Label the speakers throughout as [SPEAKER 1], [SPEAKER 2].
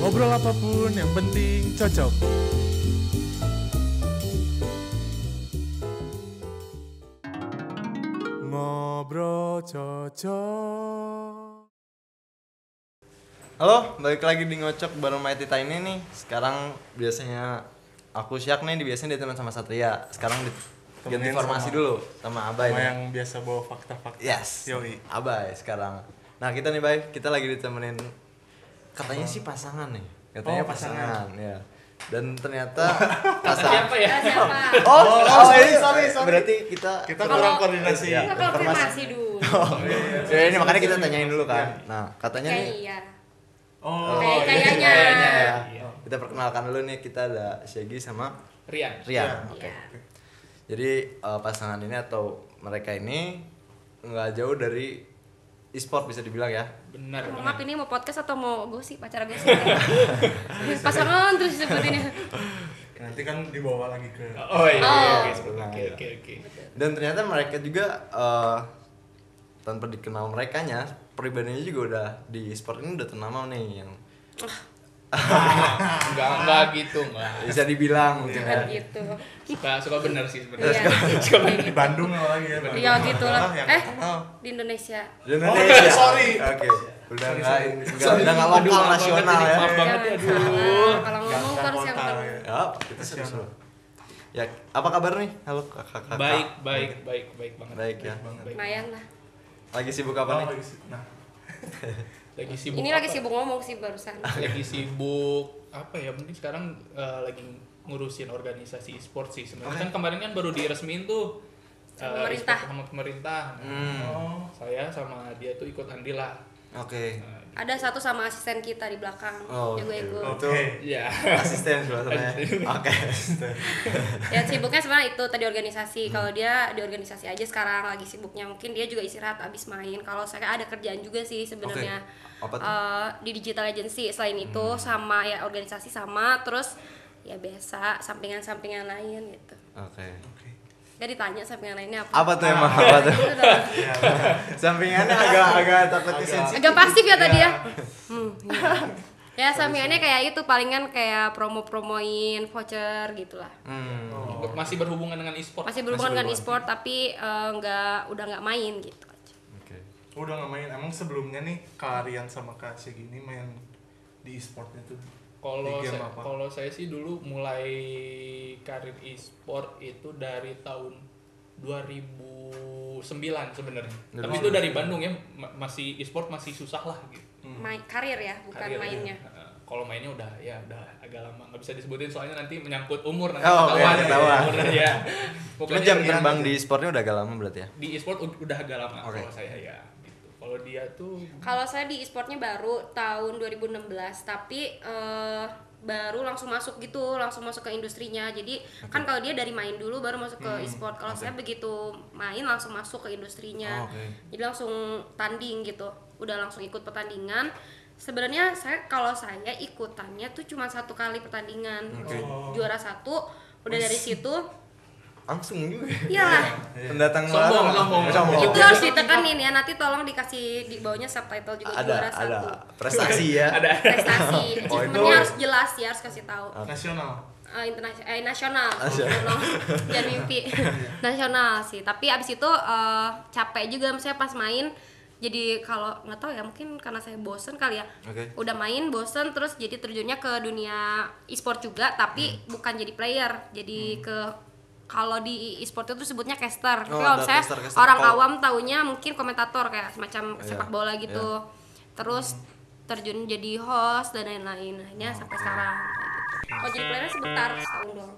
[SPEAKER 1] Ngobrol apapun yang penting cocok. Ngobrol cocok.
[SPEAKER 2] Halo, balik lagi di Ngocok bareng My Tita ini nih Sekarang biasanya aku Syak nih, biasanya diteman sama Satria Sekarang di ganti
[SPEAKER 1] Temenin
[SPEAKER 2] informasi
[SPEAKER 1] sama-
[SPEAKER 2] dulu sama Abai
[SPEAKER 1] Sama
[SPEAKER 2] nih.
[SPEAKER 1] yang biasa bawa fakta-fakta.
[SPEAKER 2] Yes,
[SPEAKER 1] Yoi.
[SPEAKER 2] Abai sekarang Nah kita nih Bay, kita lagi ditemenin Katanya sih pasangan nih Katanya
[SPEAKER 1] Oh, pasangan.
[SPEAKER 2] ya Dan ternyata
[SPEAKER 3] Siapa
[SPEAKER 2] pasangan
[SPEAKER 3] ya?
[SPEAKER 4] Nah, siapa?
[SPEAKER 2] Oh, oh, sorry, sorry, sorry Berarti kita
[SPEAKER 1] Kita kan-
[SPEAKER 4] Kalau-
[SPEAKER 1] kurang koordinasi.
[SPEAKER 2] Iya.
[SPEAKER 4] Kita konfirmasi dulu.
[SPEAKER 2] Ya ini makanya kita tanyain dulu kan Nah katanya
[SPEAKER 4] Kayak
[SPEAKER 2] nih
[SPEAKER 4] Oh,
[SPEAKER 1] Oh,
[SPEAKER 4] iya.
[SPEAKER 1] iya.
[SPEAKER 4] Kayak- kayaknya.
[SPEAKER 2] Kayaknya ya.
[SPEAKER 3] Iya.
[SPEAKER 2] Kita perkenalkan dulu nih kita ada Shaggy sama
[SPEAKER 3] Rian.
[SPEAKER 2] Rian. Oke.
[SPEAKER 4] Iya.
[SPEAKER 2] Jadi eh, pasangan ini atau mereka ini nggak jauh dari e-sport bisa dibilang ya.
[SPEAKER 3] Benar.
[SPEAKER 4] Mohon
[SPEAKER 3] benar.
[SPEAKER 4] Maaf ini mau podcast atau mau gosip acara gosip? gitu. Pasangan terus disebutinnya.
[SPEAKER 1] Nanti kan dibawa lagi ke
[SPEAKER 3] Oh iya. iya,
[SPEAKER 4] Oh.
[SPEAKER 3] oke, sebelum- Oke oke oke.
[SPEAKER 2] Dan ternyata mereka juga eh, tanpa dikenal merekanya, pribadinya juga udah di e-sport ini udah ternama nih yang
[SPEAKER 3] Enggak enggak gitu enggak.
[SPEAKER 2] bisa
[SPEAKER 1] Iya.
[SPEAKER 2] dibilang mungkin
[SPEAKER 4] Jangan
[SPEAKER 2] ya.
[SPEAKER 4] gitu.
[SPEAKER 3] Suka suka benar sih
[SPEAKER 4] Iya.
[SPEAKER 3] sebenarnya.
[SPEAKER 1] di Bandung lah lagi ya. Bandung.
[SPEAKER 4] Iya gitu lah.
[SPEAKER 1] Ah, yang
[SPEAKER 4] Eh,
[SPEAKER 1] terkenal.
[SPEAKER 4] di Indonesia.
[SPEAKER 2] Di
[SPEAKER 1] Oh,
[SPEAKER 2] Indonesia.
[SPEAKER 1] sorry.
[SPEAKER 2] Oke. Udah
[SPEAKER 1] Sorry,
[SPEAKER 2] nggak
[SPEAKER 1] sorry.
[SPEAKER 2] nggak- udah nggak
[SPEAKER 3] Aduh,
[SPEAKER 2] lokal
[SPEAKER 3] maaf
[SPEAKER 2] nasional
[SPEAKER 3] banget ini,
[SPEAKER 2] ya.
[SPEAKER 3] maaf banget ya.
[SPEAKER 4] Jangan
[SPEAKER 3] Aduh.
[SPEAKER 4] salah. Kalau ngomong
[SPEAKER 1] Gak- gak
[SPEAKER 4] harus yang
[SPEAKER 1] kota
[SPEAKER 4] benar.
[SPEAKER 1] ya.
[SPEAKER 2] Ya, kita serius. dulu. Ya, apa kabar nih? Halo kakak.
[SPEAKER 3] Baik baik baik baik banget.
[SPEAKER 2] Baik ya.
[SPEAKER 3] Baik.
[SPEAKER 4] Lumayan lah.
[SPEAKER 2] Lagi sibuk
[SPEAKER 1] Oh,
[SPEAKER 2] apa nih?
[SPEAKER 1] lagi sibuk. Nah,
[SPEAKER 3] Lagi sibuk.
[SPEAKER 4] Ini lagi
[SPEAKER 3] apa?
[SPEAKER 4] sibuk ngomong sih barusan.
[SPEAKER 3] Lagi sibuk apa ya? Mungkin sekarang eh, lagi ngurusin organisasi e-sport sih sebenarnya. Kan kemarin kan baru diresmiin tuh eh,
[SPEAKER 4] Sama pemerintah.
[SPEAKER 3] e-sport sama pemerintah.
[SPEAKER 2] Hmm.
[SPEAKER 1] Oh.
[SPEAKER 3] Saya sama dia tuh ikut andila.
[SPEAKER 2] Oke.
[SPEAKER 3] Nah,
[SPEAKER 4] Ada satu sama asisten kita di belakang.
[SPEAKER 2] Oh,
[SPEAKER 4] Jago ego.
[SPEAKER 2] oke.
[SPEAKER 1] Oke.
[SPEAKER 3] Iya.
[SPEAKER 2] Asisten sebenarnya. Oke.
[SPEAKER 4] Ya sibuknya sebenarnya itu tadi organisasi. Kalau dia di organisasi aja sekarang lagi sibuknya mungkin dia juga istirahat abis main. Kalau saya ada kerjaan juga sih sebenarnya
[SPEAKER 2] Oke. Apa tuh? Hmm.
[SPEAKER 4] Eh, di digital agency. Selain itu sama ya organisasi sama terus ya biasa sampingan-sampingan lain gitu.
[SPEAKER 2] Oke.
[SPEAKER 1] Oke.
[SPEAKER 4] Gak ditanya sampingan lainnya apa?
[SPEAKER 2] Apa tuh emang
[SPEAKER 3] Nah.
[SPEAKER 2] apa tuh?
[SPEAKER 4] Itu dong.
[SPEAKER 1] Ya, udah.
[SPEAKER 2] Sampingannya agak agak takutnya
[SPEAKER 1] Agak.
[SPEAKER 2] sensitif.
[SPEAKER 4] Agak pasif ya tadi ya. Hmm, iya. ya sampingannya kayak itu palingan kayak promo-promoin voucher gitulah.
[SPEAKER 2] Hmm.
[SPEAKER 1] Oh.
[SPEAKER 3] Masih berhubungan dengan e-sport.
[SPEAKER 4] Masih berhubungan dengan
[SPEAKER 2] berhubungan.
[SPEAKER 4] e-sport tapi eh, nggak udah nggak main gitu aja.
[SPEAKER 2] Oke.
[SPEAKER 1] Udah nggak main. Emang sebelumnya nih Kak Rian sama Kak Syegi ini main di e-sportnya tuh.
[SPEAKER 3] Kalau
[SPEAKER 1] Di game
[SPEAKER 3] saya,
[SPEAKER 1] apa?
[SPEAKER 3] kalau saya sih dulu mulai karir e-sport itu dari tahun 2009 sebenarnya. Tapi itu dari Bandung ya, ma- masih e-sport masih susah lah gitu.
[SPEAKER 2] Hmm.
[SPEAKER 4] main karir ya bukan
[SPEAKER 2] iya.
[SPEAKER 3] Karirnya.
[SPEAKER 4] mainnya
[SPEAKER 3] Heeh. Kalau mainnya udah ya udah agak lama nggak bisa disebutin soalnya nanti menyangkut umur nanti
[SPEAKER 2] Oh, oke,
[SPEAKER 3] ketahuan
[SPEAKER 2] ketahuan.
[SPEAKER 3] umurnya, ya.
[SPEAKER 2] Cuma
[SPEAKER 3] Pokoknya
[SPEAKER 2] jam
[SPEAKER 3] Rian
[SPEAKER 2] terbang di sportnya udah agak lama berarti ya.
[SPEAKER 3] di e-sport ud- udah agak lama
[SPEAKER 2] Oke.
[SPEAKER 3] kalau saya ya gitu. Kalau dia tuh
[SPEAKER 4] kalau saya di e-sportnya baru tahun 2016 tapi eh, baru langsung masuk gitu langsung masuk ke industrinya jadi kan kalau dia dari main dulu baru masuk
[SPEAKER 2] Hmm,
[SPEAKER 4] ke e-sport kalau saya begitu main langsung masuk ke
[SPEAKER 2] Oh,
[SPEAKER 4] industrinya
[SPEAKER 2] oke.
[SPEAKER 4] jadi langsung tanding gitu udah langsung ikut pertandingan sebenarnya saya kalau saya ikutannya tuh cuma satu kali pertandingan
[SPEAKER 2] Oke.
[SPEAKER 4] Ju- juara satu udah dari situ
[SPEAKER 2] Langsung juga.
[SPEAKER 4] iyalah
[SPEAKER 2] Pendatang
[SPEAKER 3] Sombong,
[SPEAKER 2] baru.
[SPEAKER 3] sombong.
[SPEAKER 2] sombong.
[SPEAKER 4] itu harus ditekanin ya nanti tolong dikasih di bawahnya subtitle juga
[SPEAKER 2] Ada
[SPEAKER 4] juara
[SPEAKER 2] ada
[SPEAKER 4] satu
[SPEAKER 2] prestasi ya.
[SPEAKER 3] ada
[SPEAKER 4] prestasi
[SPEAKER 2] Oh,
[SPEAKER 4] achievementnya
[SPEAKER 2] itu- Ah.
[SPEAKER 4] harus jelas ya harus kasih tahu
[SPEAKER 1] Nasional.
[SPEAKER 4] Eh, internasional eh, nasional
[SPEAKER 2] Asia.
[SPEAKER 4] Tolong, jangan mimpi nasional sih tapi abis itu eh, capek juga misalnya pas main jadi kalau nggak tahu ya mungkin karena saya bosen kali ya
[SPEAKER 2] Oke.
[SPEAKER 4] udah main bosen terus jadi terjunnya ke dunia e-sport juga tapi
[SPEAKER 2] Hmm.
[SPEAKER 4] bukan jadi player jadi ke kalau di e-sport itu sebutnya
[SPEAKER 2] Oh,
[SPEAKER 4] caster Tapi kalau
[SPEAKER 2] ada
[SPEAKER 4] saya
[SPEAKER 2] caster-caster.
[SPEAKER 4] orang
[SPEAKER 2] Kalau-
[SPEAKER 4] awam taunya mungkin komentator kayak semacam
[SPEAKER 2] Iya,
[SPEAKER 4] sepak bola gitu terus terjun jadi host dan lain-lain
[SPEAKER 2] Oh,
[SPEAKER 4] akhirnya sampai sekarang kayak gitu. kalau jadi playernya sebentar setahun doang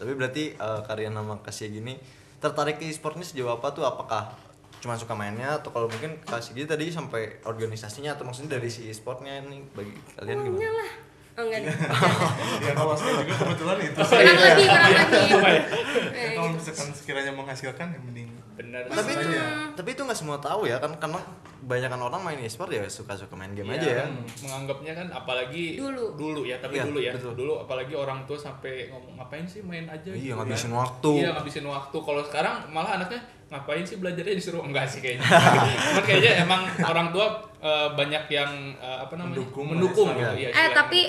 [SPEAKER 2] Tapi berarti eh, karya nama Kasih gini tertarik ke e-sportnya sejauh apa tuh? Apakah cuma suka mainnya atau kalau mungkin Kasih gini tadi sampai organisasinya atau maksudnya dari si e-sportnya ini bagi kalian gimana?
[SPEAKER 4] lah oh, enggak deh.
[SPEAKER 1] Ya kalau saya juga kebetulan itu sih.
[SPEAKER 4] kurang lagi kurang
[SPEAKER 2] Iya.
[SPEAKER 4] lagi
[SPEAKER 1] Ya,
[SPEAKER 4] Eh,
[SPEAKER 1] kalau misalkan sekiranya menghasilkan ya mending.
[SPEAKER 3] benar.
[SPEAKER 2] tapi itu
[SPEAKER 1] Maksudnya.
[SPEAKER 2] tapi itu nggak semua tahu ya kan karena kebanyakan orang main e-sport ya suka-suka main game aja ya
[SPEAKER 3] hmm, menganggapnya kan apalagi
[SPEAKER 4] Dulu.
[SPEAKER 3] ya tapi
[SPEAKER 2] Iya,
[SPEAKER 3] dulu ya
[SPEAKER 2] betul.
[SPEAKER 3] dulu apalagi orang tua sampai ngomong ngapain sih main aja
[SPEAKER 2] Iya,
[SPEAKER 3] gitu
[SPEAKER 2] ngabisin
[SPEAKER 3] kan.
[SPEAKER 2] waktu.
[SPEAKER 3] iya ngabisin waktu kalau sekarang malah anaknya ngapain sih belajarnya disuruh enggak sih kayaknya cuman kayaknya emang orang tua eh, banyak yang eh, apa namanya
[SPEAKER 1] Mendukung,
[SPEAKER 3] mendukung
[SPEAKER 1] ya,
[SPEAKER 3] gitu Iya,
[SPEAKER 4] eh
[SPEAKER 3] istilahnya.
[SPEAKER 4] tapi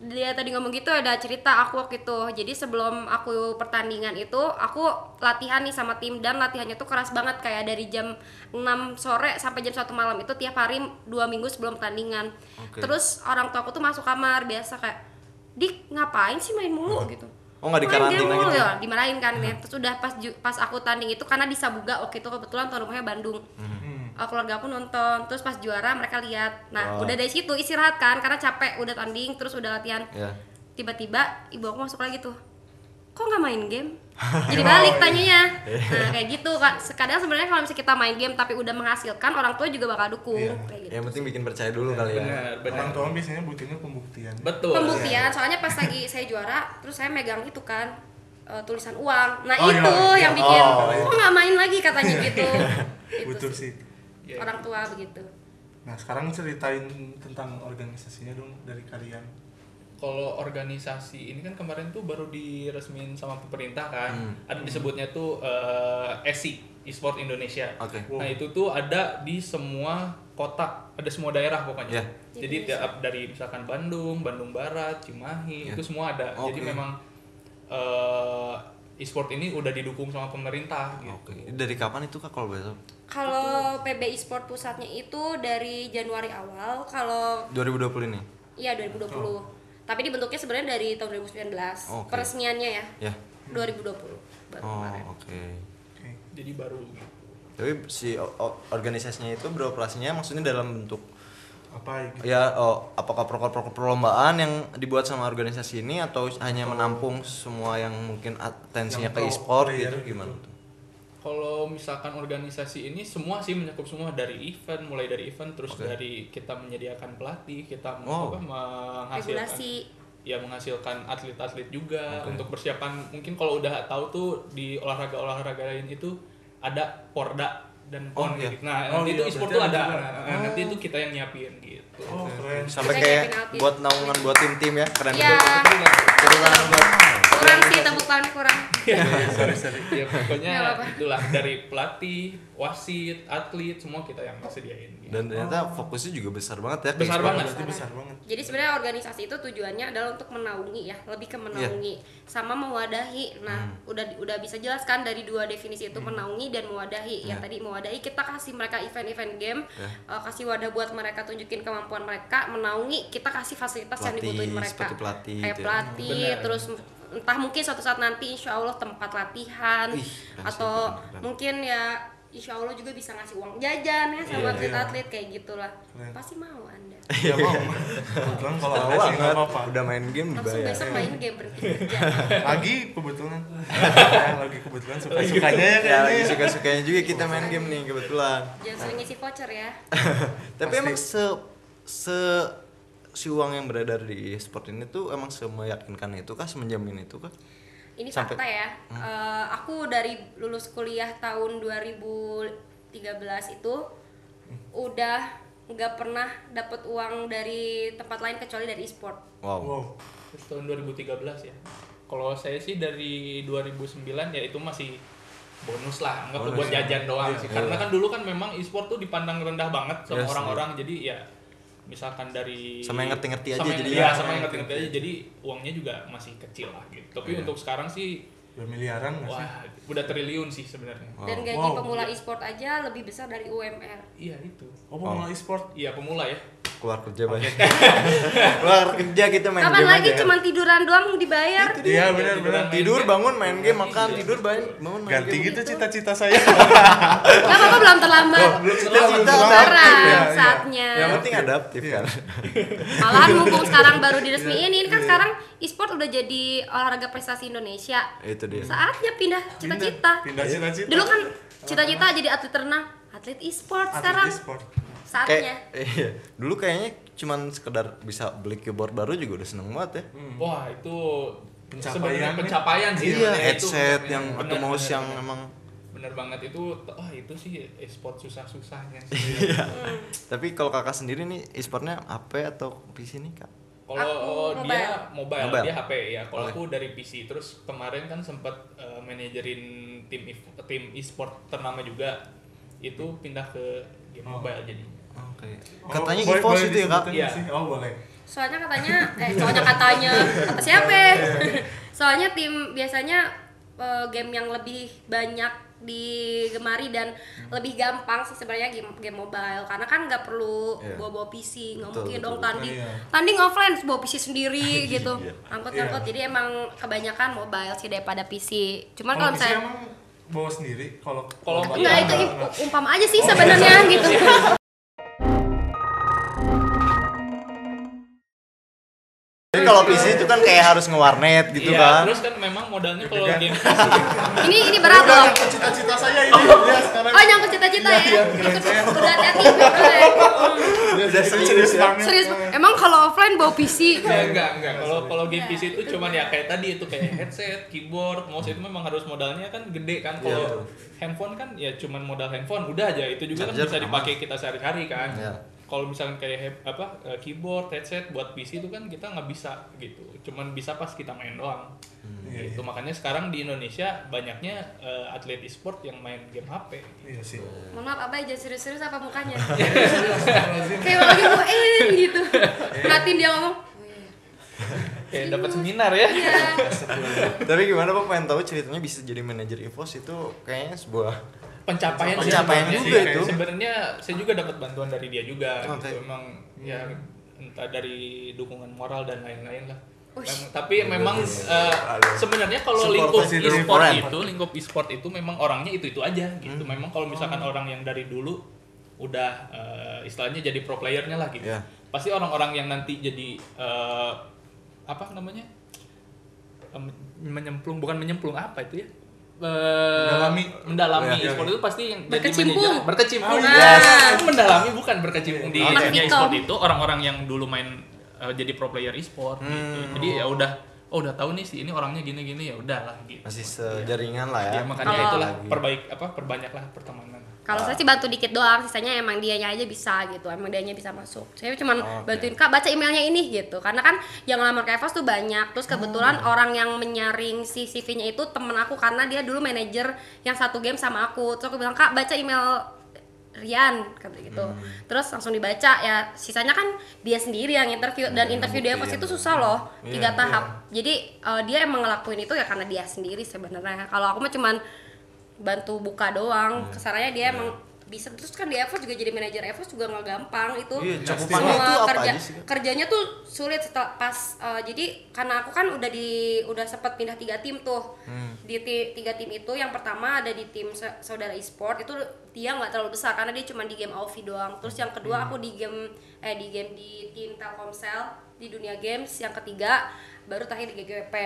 [SPEAKER 4] dia tadi ngomong gitu ada cerita aku waktu itu jadi sebelum aku pertandingan itu aku latihan nih sama tim dan latihannya tuh keras banget kayak dari jam 6 sore sampai jam 1 malam itu tiap hari dua minggu sebelum pertandingan
[SPEAKER 2] Oke.
[SPEAKER 4] terus orang tua aku tuh masuk kamar biasa kayak dik ngapain sih main mulu gitu
[SPEAKER 2] Oh, nggak
[SPEAKER 4] Main game
[SPEAKER 2] dikarantina
[SPEAKER 4] mulu,"
[SPEAKER 2] gitu?
[SPEAKER 4] ya, dimarahin kan ya. terus udah pas ju- pas aku tanding itu karena di Sabuga waktu itu kebetulan tuan rumahnya Bandung Oh, keluarga aku nonton terus pas juara mereka lihat nah
[SPEAKER 2] Wow.
[SPEAKER 4] udah dari situ istirahat kan karena capek udah tanding terus udah latihan
[SPEAKER 2] ya
[SPEAKER 4] tiba-tiba ibu aku masuk lagi tuh kok nggak main game jadi
[SPEAKER 1] Oh,
[SPEAKER 4] balik
[SPEAKER 1] iya.
[SPEAKER 4] tanyanya nah kayak gitu kan kadang sebenarnya kalau misalnya kita main game tapi udah menghasilkan orang tua juga bakal dukung
[SPEAKER 1] Iya.
[SPEAKER 4] kayak gitu
[SPEAKER 2] Ya, yang penting bikin percaya dulu kali ya
[SPEAKER 3] benar benar
[SPEAKER 1] Orang tua biasanya butuhnya pembuktian.
[SPEAKER 3] betul
[SPEAKER 4] pembuktian
[SPEAKER 1] Iya.
[SPEAKER 4] soalnya pas lagi saya juara terus saya megang itu kan eh, tulisan uang nah
[SPEAKER 1] Oh, iya,
[SPEAKER 4] itu
[SPEAKER 1] iya.
[SPEAKER 4] yang bikin
[SPEAKER 2] Oh.
[SPEAKER 4] kok nggak main lagi katanya gitu Itu
[SPEAKER 1] Butuh sih.
[SPEAKER 4] sih.
[SPEAKER 3] Iya.
[SPEAKER 4] orang tua begitu
[SPEAKER 1] Nah sekarang ceritain tentang organisasinya dong dari kalian.
[SPEAKER 3] kalau organisasi ini kan kemarin tuh baru diresmin sama pemerintah kan
[SPEAKER 2] Hmm.
[SPEAKER 3] ada disebutnya tuh eh, ESI e-sport Indonesia
[SPEAKER 2] oke
[SPEAKER 1] Wow.
[SPEAKER 3] Nah itu tuh ada di semua kota, ada semua daerah pokoknya.
[SPEAKER 2] Iya.
[SPEAKER 3] Jadi tiap dari misalkan Bandung, Bandung Barat, Cimahi,
[SPEAKER 2] Iya.
[SPEAKER 3] itu semua ada.
[SPEAKER 2] Oke.
[SPEAKER 3] Jadi memang eh, e-sport ini udah didukung sama pemerintah gitu.
[SPEAKER 2] oke dari kapan itu kak kalau boleh tahu?
[SPEAKER 4] Kalau
[SPEAKER 2] Gitu.
[SPEAKER 4] PBI Sport pusatnya itu dari Januari awal, kalau
[SPEAKER 2] 2020 ini
[SPEAKER 4] iya 2020. Tapi dibentuknya sebenarnya dari tahun 2019.
[SPEAKER 2] Oh. Oke.
[SPEAKER 4] Peresmiannya ya
[SPEAKER 2] ya
[SPEAKER 4] 2020 baru
[SPEAKER 2] oh
[SPEAKER 4] kemarin.
[SPEAKER 2] oke
[SPEAKER 1] Oke.
[SPEAKER 3] Jadi baru. gitu.
[SPEAKER 2] tapi si o- o- organisasinya itu beroperasinya maksudnya dalam bentuk
[SPEAKER 1] Apa gitu?
[SPEAKER 2] ya oh, apakah proker-proker perlombaan yang dibuat sama organisasi ini atau hanya menampung semua yang mungkin atensinya
[SPEAKER 1] Yang
[SPEAKER 2] ke
[SPEAKER 1] pro
[SPEAKER 2] e-sport
[SPEAKER 1] player
[SPEAKER 2] gitu
[SPEAKER 1] gitu.
[SPEAKER 2] gimana tuh?
[SPEAKER 3] Kalau misalkan organisasi ini semua sih mencakup semua dari event, mulai dari event terus
[SPEAKER 2] Oke.
[SPEAKER 3] dari kita menyediakan pelatih, kita
[SPEAKER 2] Wow.
[SPEAKER 3] apa,
[SPEAKER 2] Ah,
[SPEAKER 3] menghasilkan
[SPEAKER 4] Regulasi
[SPEAKER 3] ya menghasilkan atlet-atlet juga
[SPEAKER 2] Oke.
[SPEAKER 3] untuk persiapan mungkin kalau udah tahu tuh di olahraga-olahraga lain itu ada porda dan
[SPEAKER 2] Oh,
[SPEAKER 3] pon
[SPEAKER 2] iya.
[SPEAKER 3] gitu. Nah,
[SPEAKER 1] Oh,
[SPEAKER 3] nanti
[SPEAKER 1] iya,
[SPEAKER 3] itu e-sport
[SPEAKER 1] berarti
[SPEAKER 3] tuh
[SPEAKER 1] ada
[SPEAKER 3] ada.
[SPEAKER 1] juga.
[SPEAKER 3] Nah, nanti itu kita yang nyiapin gitu.
[SPEAKER 1] Oh keren.
[SPEAKER 2] Sampai
[SPEAKER 4] Kita
[SPEAKER 2] kayak
[SPEAKER 4] nyiapin outfit.
[SPEAKER 2] buat naungan buat tim-tim ya, keren
[SPEAKER 4] Iya.
[SPEAKER 2] banget. Tepuk tangan buat-
[SPEAKER 4] kurang sih tepuk tangan kurang.
[SPEAKER 1] sorry sorry.
[SPEAKER 3] ya pokoknya
[SPEAKER 4] Nggak apa-apa.
[SPEAKER 3] itulah dari pelatih, wasit, atlet semua kita yang sediain gitu.
[SPEAKER 2] Dan ternyata fokusnya juga besar banget ya ke
[SPEAKER 3] Besar
[SPEAKER 2] e-sport.
[SPEAKER 3] banget.
[SPEAKER 1] Berarti besar banget.
[SPEAKER 4] Jadi sebenarnya organisasi itu tujuannya adalah untuk menaungi ya, lebih
[SPEAKER 2] Iya.
[SPEAKER 4] ke menaungi sama mewadahi. Nah,
[SPEAKER 2] Hmm.
[SPEAKER 4] udah udah bisa jelaskan dari dua definisi itu menaungi dan mewadahi. Yang
[SPEAKER 2] Iya.
[SPEAKER 4] tadi mewadahi kita kasih mereka event-event game,
[SPEAKER 2] Iya.
[SPEAKER 4] eh, kasih wadah buat mereka tunjukin kemampuan mereka. Menaungi kita kasih fasilitas yang
[SPEAKER 2] Pelatih,
[SPEAKER 4] dibutuhin mereka.
[SPEAKER 2] seperti pelatih
[SPEAKER 4] Kayak
[SPEAKER 2] gitu ya.
[SPEAKER 4] pelatih,
[SPEAKER 3] Benar.
[SPEAKER 4] terus entah mungkin suatu saat nanti insya Allah tempat latihan
[SPEAKER 2] Ih, keren sih,
[SPEAKER 4] atau
[SPEAKER 2] keren, keren.
[SPEAKER 4] mungkin ya Insya Allah juga bisa ngasih uang jajan
[SPEAKER 1] Iya.
[SPEAKER 4] ya sama atlet-atlet kayak gitulah.
[SPEAKER 1] Keren.
[SPEAKER 4] Pasti mau anda.
[SPEAKER 1] Iya mau. Kebetulan kalau
[SPEAKER 2] Besar
[SPEAKER 1] ada sih nggak
[SPEAKER 2] banget.
[SPEAKER 1] apa-apa.
[SPEAKER 2] Udah main game
[SPEAKER 4] langsung
[SPEAKER 2] dibayar.
[SPEAKER 4] besok main game berhenti kerja
[SPEAKER 1] Lagi kebetulan. Ya, lagi kebetulan suka sukanya ya
[SPEAKER 2] Ya lagi
[SPEAKER 1] kayaknya.
[SPEAKER 2] suka-sukanya juga kita main game nih kebetulan.
[SPEAKER 4] jangan sering ngisi voucher ya
[SPEAKER 2] Tapi
[SPEAKER 1] Pasti.
[SPEAKER 2] emang se se si uang yang beredar di e-sport ini tuh emang semeyakinkan itu kah, semenjamin itu kah?
[SPEAKER 4] ini
[SPEAKER 2] Sampai-
[SPEAKER 4] fakta ya Eh, aku dari lulus kuliah tahun 2013 itu udah nggak pernah dapat uang dari tempat lain kecuali dari e-sport
[SPEAKER 2] Wow.
[SPEAKER 1] Wow.
[SPEAKER 3] Terus tahun 2013 ya. Kalau saya sih dari 2009 ya itu masih bonus lah, nggak
[SPEAKER 2] Bonus
[SPEAKER 3] buat
[SPEAKER 2] ya.
[SPEAKER 3] jajan doang
[SPEAKER 1] Iya,
[SPEAKER 3] sih.
[SPEAKER 2] iya.
[SPEAKER 3] Karena kan dulu kan memang e-sport tuh dipandang rendah banget sama
[SPEAKER 2] Yes, iya.
[SPEAKER 3] orang-orang, jadi ya misalkan dari
[SPEAKER 2] Sama yang ngerti-ngerti aja
[SPEAKER 3] sama yang-
[SPEAKER 2] jadi
[SPEAKER 3] iya,
[SPEAKER 2] ya.
[SPEAKER 3] sama yang ngerti-ngerti aja jadi uangnya juga masih kecil lah gitu. Tapi
[SPEAKER 2] Iya.
[SPEAKER 3] untuk sekarang sih
[SPEAKER 1] Udah miliaran nggak sih?
[SPEAKER 3] wah udah triliun sih sebenarnya.
[SPEAKER 2] Wow.
[SPEAKER 4] dan gaji
[SPEAKER 1] Wow.
[SPEAKER 4] pemula e-sport aja lebih besar dari UMR
[SPEAKER 3] Iya itu.
[SPEAKER 1] Oh pemula e-sport.
[SPEAKER 3] Iya pemula ya.
[SPEAKER 2] Keluar kerja banyak. Keluar kerja kita main
[SPEAKER 4] kapan
[SPEAKER 2] game
[SPEAKER 4] lagi
[SPEAKER 2] aja.
[SPEAKER 4] cuman tiduran doang dibayar
[SPEAKER 1] Iya
[SPEAKER 3] Tiduran
[SPEAKER 1] benar-benar.
[SPEAKER 3] main
[SPEAKER 2] Tidur
[SPEAKER 3] game.
[SPEAKER 2] bangun main game makan
[SPEAKER 3] Iya.
[SPEAKER 2] tidur bangun bangun gitu, main
[SPEAKER 1] Ganti
[SPEAKER 2] game.
[SPEAKER 1] gitu cita-cita saya.
[SPEAKER 4] nggak apa-apa belum terlambat
[SPEAKER 2] cita-cita
[SPEAKER 4] sekarang
[SPEAKER 1] Iya, iya.
[SPEAKER 4] saatnya
[SPEAKER 2] Yang penting adaptif kan.
[SPEAKER 4] Malahan mumpung sekarang baru diresmiin ini kan sekarang e-sport udah jadi olahraga prestasi Indonesia.
[SPEAKER 2] itu dia.
[SPEAKER 4] Saatnya pindah cita-cita.
[SPEAKER 1] Pindah cita-cita.
[SPEAKER 4] Dulu kan cita-cita jadi atlet renang, atlet e-sport sekarang
[SPEAKER 1] Atlet e-sport.
[SPEAKER 2] Kayak
[SPEAKER 4] saatnya.
[SPEAKER 2] iya. Dulu kayaknya cuman sekedar bisa beli keyboard baru juga udah seneng banget ya.
[SPEAKER 3] Wah itu
[SPEAKER 1] Pencapaian
[SPEAKER 3] sebenarnya
[SPEAKER 1] ya.
[SPEAKER 3] pencapaian Kan sih.
[SPEAKER 2] Iya,
[SPEAKER 3] sebenarnya itu
[SPEAKER 2] headset
[SPEAKER 3] pencapaian.
[SPEAKER 2] yang atau
[SPEAKER 3] Benar,
[SPEAKER 2] mouse
[SPEAKER 3] benar,
[SPEAKER 2] yang
[SPEAKER 3] benar.
[SPEAKER 2] emang
[SPEAKER 3] bener banget itu wah itu sih e-sport susah-susahnya sih.
[SPEAKER 2] Iya. Tapi kalau kakak sendiri nih e-sportnya HP atau PC nih kak?
[SPEAKER 3] kalau
[SPEAKER 4] Aku
[SPEAKER 3] dia mobile,
[SPEAKER 2] Mobile.
[SPEAKER 3] dia HP ya kalau
[SPEAKER 2] Oke.
[SPEAKER 3] aku dari PC terus kemarin kan sempat eh, manajerin tim if- tim e-sport ternama juga itu pindah ke game
[SPEAKER 2] Oh.
[SPEAKER 3] mobile jadi
[SPEAKER 2] Oke.
[SPEAKER 1] Oh, boleh-
[SPEAKER 2] Katanya
[SPEAKER 4] gitu
[SPEAKER 2] EVOS
[SPEAKER 1] boleh
[SPEAKER 2] itu ya kak?
[SPEAKER 1] disebutin
[SPEAKER 3] Iya.
[SPEAKER 1] nggak sih? Oh boleh.
[SPEAKER 4] soalnya katanya eh soalnya katanya kata siapa soalnya tim biasanya eh, game yang lebih banyak digemari dan lebih gampang sih sebenarnya game game mobile karena kan nggak perlu
[SPEAKER 2] Iya.
[SPEAKER 4] bawa-bawa PC nggak
[SPEAKER 2] Betul,
[SPEAKER 4] mungkin
[SPEAKER 2] betul.
[SPEAKER 4] dong tanding
[SPEAKER 1] Iya.
[SPEAKER 4] tanding offline bawa PC sendiri gitu
[SPEAKER 2] Iya.
[SPEAKER 4] angkut-angkut
[SPEAKER 1] Iya.
[SPEAKER 4] jadi emang kebanyakan mobile sih daripada PC cuman kalau
[SPEAKER 1] Kalau PC
[SPEAKER 4] misalnya
[SPEAKER 1] emang bawa sendiri kalau
[SPEAKER 3] Kalau
[SPEAKER 1] kalau
[SPEAKER 4] Enggak,
[SPEAKER 3] Iya,
[SPEAKER 4] Oh, Nah, itu
[SPEAKER 1] nggak- nggak.
[SPEAKER 4] im- umpam aja sih
[SPEAKER 1] Oh,
[SPEAKER 4] sebenarnya gitu.
[SPEAKER 2] Jadi kalau PC itu kan kayak harus ngewarnet gitu
[SPEAKER 3] Iya,
[SPEAKER 2] kan?
[SPEAKER 3] terus kan memang modalnya kalau
[SPEAKER 1] Deg-degan.
[SPEAKER 3] game
[SPEAKER 4] Ini ini berat
[SPEAKER 1] Udah,
[SPEAKER 4] loh.
[SPEAKER 1] nyangkut cita-cita saya ini dia sekarang.
[SPEAKER 4] Oh, nyangkut cita-cita
[SPEAKER 1] Iya, iya,
[SPEAKER 4] ya.
[SPEAKER 1] keren
[SPEAKER 4] Ikut-
[SPEAKER 1] saya.
[SPEAKER 4] Udah hati-hati. boleh.
[SPEAKER 2] Udah serius ya?
[SPEAKER 1] Iya, banget.
[SPEAKER 4] Serius, emang kalau offline bawa PC?
[SPEAKER 3] Ya, enggak, enggak. Kalau kalau game PC itu cuman ya kayak tadi itu kayak headset, keyboard, mouse itu memang harus modalnya kan gede kan.
[SPEAKER 2] Iya, betul.
[SPEAKER 3] Kalau handphone kan ya cuman modal handphone udah aja itu juga
[SPEAKER 2] Charger,
[SPEAKER 3] kan bisa
[SPEAKER 2] aman.
[SPEAKER 3] dipakai kita sehari-hari kan.
[SPEAKER 2] Iya.
[SPEAKER 3] Kalau misalkan kayak he- apa eh, keyboard, headset buat PC itu kan kita nggak bisa gitu. Cuman bisa pas kita main doang.
[SPEAKER 2] Hmm.
[SPEAKER 1] Iya,
[SPEAKER 3] Gitu. Makanya sekarang di Indonesia banyaknya eh, atlet e-sport yang main game HP.
[SPEAKER 1] Iya sih.
[SPEAKER 4] Mohon maaf, Abah jangan serius-serius apa mukanya?
[SPEAKER 1] Iya. Astagfirullahaladzim.
[SPEAKER 4] Kayak lagi mau eh gitu. Ngeliatin dia ngomong. "Wih,
[SPEAKER 3] Kayak dapat seminar ya.
[SPEAKER 4] Iya.
[SPEAKER 2] Tapi gimana Pak pengen tahu ceritanya bisa jadi manajer EVOS itu kayaknya sebuah
[SPEAKER 3] pencapaian, sih
[SPEAKER 2] Pencapaian
[SPEAKER 3] sebenarnya.
[SPEAKER 1] juga
[SPEAKER 3] Sih,
[SPEAKER 1] itu.
[SPEAKER 3] sebenarnya saya juga dapat bantuan dari dia juga
[SPEAKER 2] Oke. Hmm.
[SPEAKER 3] gitu emang ya entah dari dukungan moral dan lain-lain lah
[SPEAKER 4] Ush.
[SPEAKER 3] Mem- tapi memang eh,
[SPEAKER 2] Aduh.
[SPEAKER 3] sebenarnya kalau
[SPEAKER 2] Iya, Support
[SPEAKER 3] lingkup
[SPEAKER 2] sih dari
[SPEAKER 3] e-sport
[SPEAKER 2] foreign.
[SPEAKER 3] itu lingkup e-sport itu memang orangnya itu itu aja gitu
[SPEAKER 2] Hmm.
[SPEAKER 3] memang kalau misalkan orang yang dari dulu udah eh, istilahnya jadi pro playernya lah gitu
[SPEAKER 2] Iya.
[SPEAKER 3] pasti orang-orang yang nanti jadi eh, apa namanya Eh, menyemplung bukan menyemplung apa itu ya Eh,
[SPEAKER 1] Mendalami. Iya,
[SPEAKER 3] mendalami
[SPEAKER 1] iya.
[SPEAKER 3] e-sport itu pasti yang jadi
[SPEAKER 4] Berkecimpung.
[SPEAKER 3] manajer- berkecimpung Nah,
[SPEAKER 1] Oh,
[SPEAKER 4] yes.
[SPEAKER 3] Itu mendalami bukan berkecimpung di
[SPEAKER 2] Oke.
[SPEAKER 3] dunia
[SPEAKER 4] Mengerti
[SPEAKER 3] e-sport
[SPEAKER 4] kaum.
[SPEAKER 3] itu orang-orang yang dulu main eh, jadi pro player e-sport gitu. jadi ya udah oh udah tahu nih sih ini orangnya gini-gini ya udahlah gitu
[SPEAKER 2] masih
[SPEAKER 3] Iya.
[SPEAKER 2] sejaringan lah ya.
[SPEAKER 3] Ya, makanya
[SPEAKER 4] Kalau-
[SPEAKER 3] itulah
[SPEAKER 2] Lagi.
[SPEAKER 3] perbaik apa perbanyaklah pertemanan
[SPEAKER 4] Kalau saya sih bantu dikit doang, sisanya emang dianya aja bisa gitu, emang dianya bisa masuk. Saya cuman
[SPEAKER 2] Oke.
[SPEAKER 4] bantuin kak baca emailnya ini gitu, karena kan yang ngelamar ke Evos tuh banyak. Terus kebetulan orang yang menyaring si CV-nya itu temen aku karena dia dulu manajer yang satu game sama aku. Terus aku bilang kak baca email Rian kata gitu. Terus langsung dibaca ya, sisanya kan dia sendiri yang interview dan interview di Evos
[SPEAKER 2] ngebuktiin.
[SPEAKER 4] itu susah loh,
[SPEAKER 2] Iya,
[SPEAKER 4] tiga
[SPEAKER 2] iya.
[SPEAKER 4] tahap. Jadi eh, dia emang ngelakuin itu ya karena dia sendiri sebenarnya. Kalau aku mah cuman bantu buka doang
[SPEAKER 2] Iya.
[SPEAKER 4] kesarannya dia emang bisa terus kan di Evos juga jadi manajer Evos juga nggak gampang itu
[SPEAKER 2] Iya, cakupannya
[SPEAKER 4] semua
[SPEAKER 2] itu apa
[SPEAKER 4] kerja
[SPEAKER 2] aja sih?
[SPEAKER 4] kerjanya tuh sulit setelah pas eh, jadi karena aku kan udah di udah sempat pindah tiga tim tuh di ti- tiga tim itu yang pertama ada di tim sa- saudara e-sport itu dia nggak terlalu besar karena dia cuma di game AoV doang terus yang kedua aku di game eh di game di tim Telkomsel di dunia games yang ketiga baru terakhir di GGWP.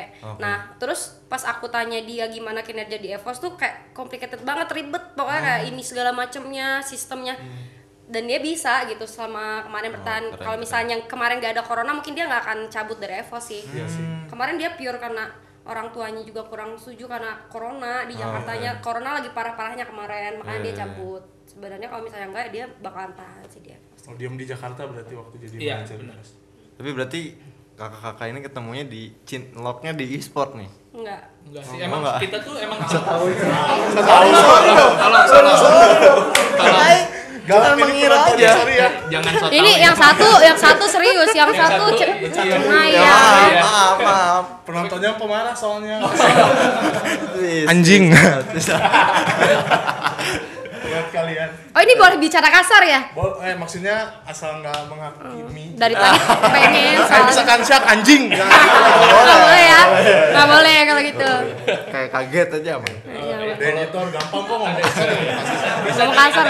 [SPEAKER 4] Nah, terus pas aku tanya dia gimana kinerja di EVOS tuh kayak complicated banget, ribet pokoknya kayak ini segala macemnya, sistemnya. Dan dia bisa gitu selama kemarin bertahan.
[SPEAKER 2] keren,
[SPEAKER 4] Kalau
[SPEAKER 2] keren.
[SPEAKER 4] misalnya kemarin gak ada corona mungkin dia nggak akan cabut dari EVOS sih.
[SPEAKER 1] Iya sih.
[SPEAKER 4] Kemarin dia pure karena orang tuanya juga kurang setuju karena corona di Jakartanya. Corona lagi parah-parahnya kemarin, makanya dia cabut. Sebenarnya kalau misalnya enggak dia bakalan tahan sih dia.
[SPEAKER 1] Oh, diam di Jakarta berarti waktu jadi
[SPEAKER 3] Iya,
[SPEAKER 1] manajer.
[SPEAKER 3] benar.
[SPEAKER 2] Tapi berarti kakak-kakak ini ketemunya di cinloknya di e-sport nih.
[SPEAKER 4] Enggak.
[SPEAKER 3] enggak sih
[SPEAKER 2] Oh,
[SPEAKER 3] emang
[SPEAKER 2] enggak.
[SPEAKER 3] kita tuh emang
[SPEAKER 2] Jangan
[SPEAKER 4] iya
[SPEAKER 2] mengira aja.
[SPEAKER 3] jangan so
[SPEAKER 4] Ini
[SPEAKER 3] tau ya.
[SPEAKER 4] yang satu, yang satu serius, yang,
[SPEAKER 3] Yang satu,
[SPEAKER 4] satu, ce- Nah,
[SPEAKER 3] iya.
[SPEAKER 4] cenayang.
[SPEAKER 2] Ya, maaf, maaf, maaf.
[SPEAKER 1] Penontonnya pemarah soalnya.
[SPEAKER 2] Please,
[SPEAKER 1] Anjing.
[SPEAKER 2] please, please.
[SPEAKER 1] Buat kalian.
[SPEAKER 4] Oh ini boleh bicara kasar ya?
[SPEAKER 1] Bo- eh maksudnya asal nggak menghakimi.
[SPEAKER 4] Oh. Dari tadi pengen
[SPEAKER 1] Eh,
[SPEAKER 4] soalnya.
[SPEAKER 2] Kan
[SPEAKER 1] misalkan siap anjing. Jangan.
[SPEAKER 4] Nggak boleh ya? Nggak boleh kalau gitu.
[SPEAKER 2] Kayak kaget aja, Bang.
[SPEAKER 4] Iya,
[SPEAKER 3] iya.
[SPEAKER 1] Dan itu gampang kok ngomong kasar ya.
[SPEAKER 4] Bisa ngomong kasar.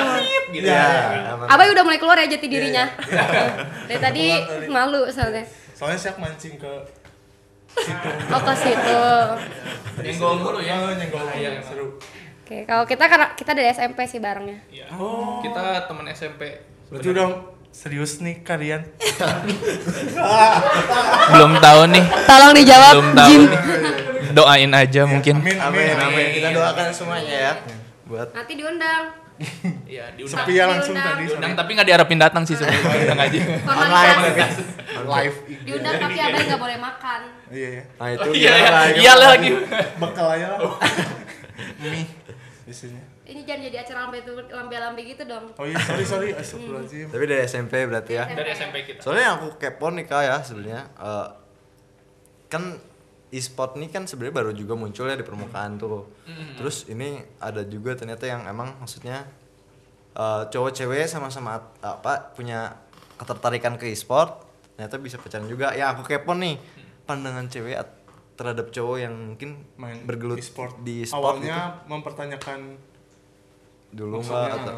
[SPEAKER 2] Gitu ya.
[SPEAKER 1] Iya.
[SPEAKER 2] aman.
[SPEAKER 4] Abai udah mulai keluar ya jati dirinya. Dari tadi
[SPEAKER 1] Keluar tadi.
[SPEAKER 4] malu soalnya.
[SPEAKER 1] Soalnya siap mancing ke situ.
[SPEAKER 4] Oh ke situ.
[SPEAKER 3] Nyenggol mulu ya.
[SPEAKER 1] Oh, nyenggol.
[SPEAKER 3] Bahaya emang.
[SPEAKER 1] seru.
[SPEAKER 4] Oke, kalau kita karena kita dari SMP sih barengnya.
[SPEAKER 3] Iya.
[SPEAKER 2] Oh.
[SPEAKER 3] kita teman SMP
[SPEAKER 1] Berarti udah serius nih kalian.
[SPEAKER 3] belum tahu nih
[SPEAKER 4] Tolong dijawab,
[SPEAKER 3] Belum tahu.
[SPEAKER 4] Jim.
[SPEAKER 3] doamin aja mungkin
[SPEAKER 1] Amin, amin,
[SPEAKER 2] Ya, Iya, Amin, amin.
[SPEAKER 1] amin.
[SPEAKER 2] Kita doakan semuanya ya. Buat
[SPEAKER 4] Nanti diundang.
[SPEAKER 3] iya diundang
[SPEAKER 1] Sepi ya langsung
[SPEAKER 4] Diundang.
[SPEAKER 1] tadi.
[SPEAKER 3] diundang
[SPEAKER 1] sorry.
[SPEAKER 3] tapi nggak diharapin datang sih
[SPEAKER 2] Oh,
[SPEAKER 3] sebenarnya
[SPEAKER 2] iya.
[SPEAKER 3] diundang aja
[SPEAKER 2] online.
[SPEAKER 4] Formalitas.
[SPEAKER 1] Live.
[SPEAKER 4] Diundang tapi Abai nggak boleh makan.
[SPEAKER 1] Iya ya.
[SPEAKER 2] Nah, itu
[SPEAKER 3] iya
[SPEAKER 2] gimana?
[SPEAKER 3] iya lagi
[SPEAKER 1] Bekal aja lah. Mie. isinya.
[SPEAKER 4] Ini jangan jadi acara lambe tu- lambe-lambe gitu dong.
[SPEAKER 1] Oh iya, sorry sorry, astagfirullahaladzim.
[SPEAKER 2] Tapi dari SMP berarti ya.
[SPEAKER 3] dari SMP kita
[SPEAKER 2] Soalnya yang aku kepo nih kak ya sebenarnya eh, kan e-sport nih kan sebenarnya baru juga munculnya di permukaan tuh. Terus ini ada juga ternyata yang emang maksudnya eh, cowok cewek sama-sama at- apa punya ketertarikan ke e-sport ternyata bisa pacaran juga. Ya aku kepo nih pandangan cewek at- terhadap cowok yang mungkin
[SPEAKER 1] Main
[SPEAKER 2] bergelut
[SPEAKER 1] e-sport.
[SPEAKER 2] di e-sport gitu.
[SPEAKER 1] Awalnya mempertanyakan
[SPEAKER 2] dulu
[SPEAKER 1] maksudnya,
[SPEAKER 2] nggak atau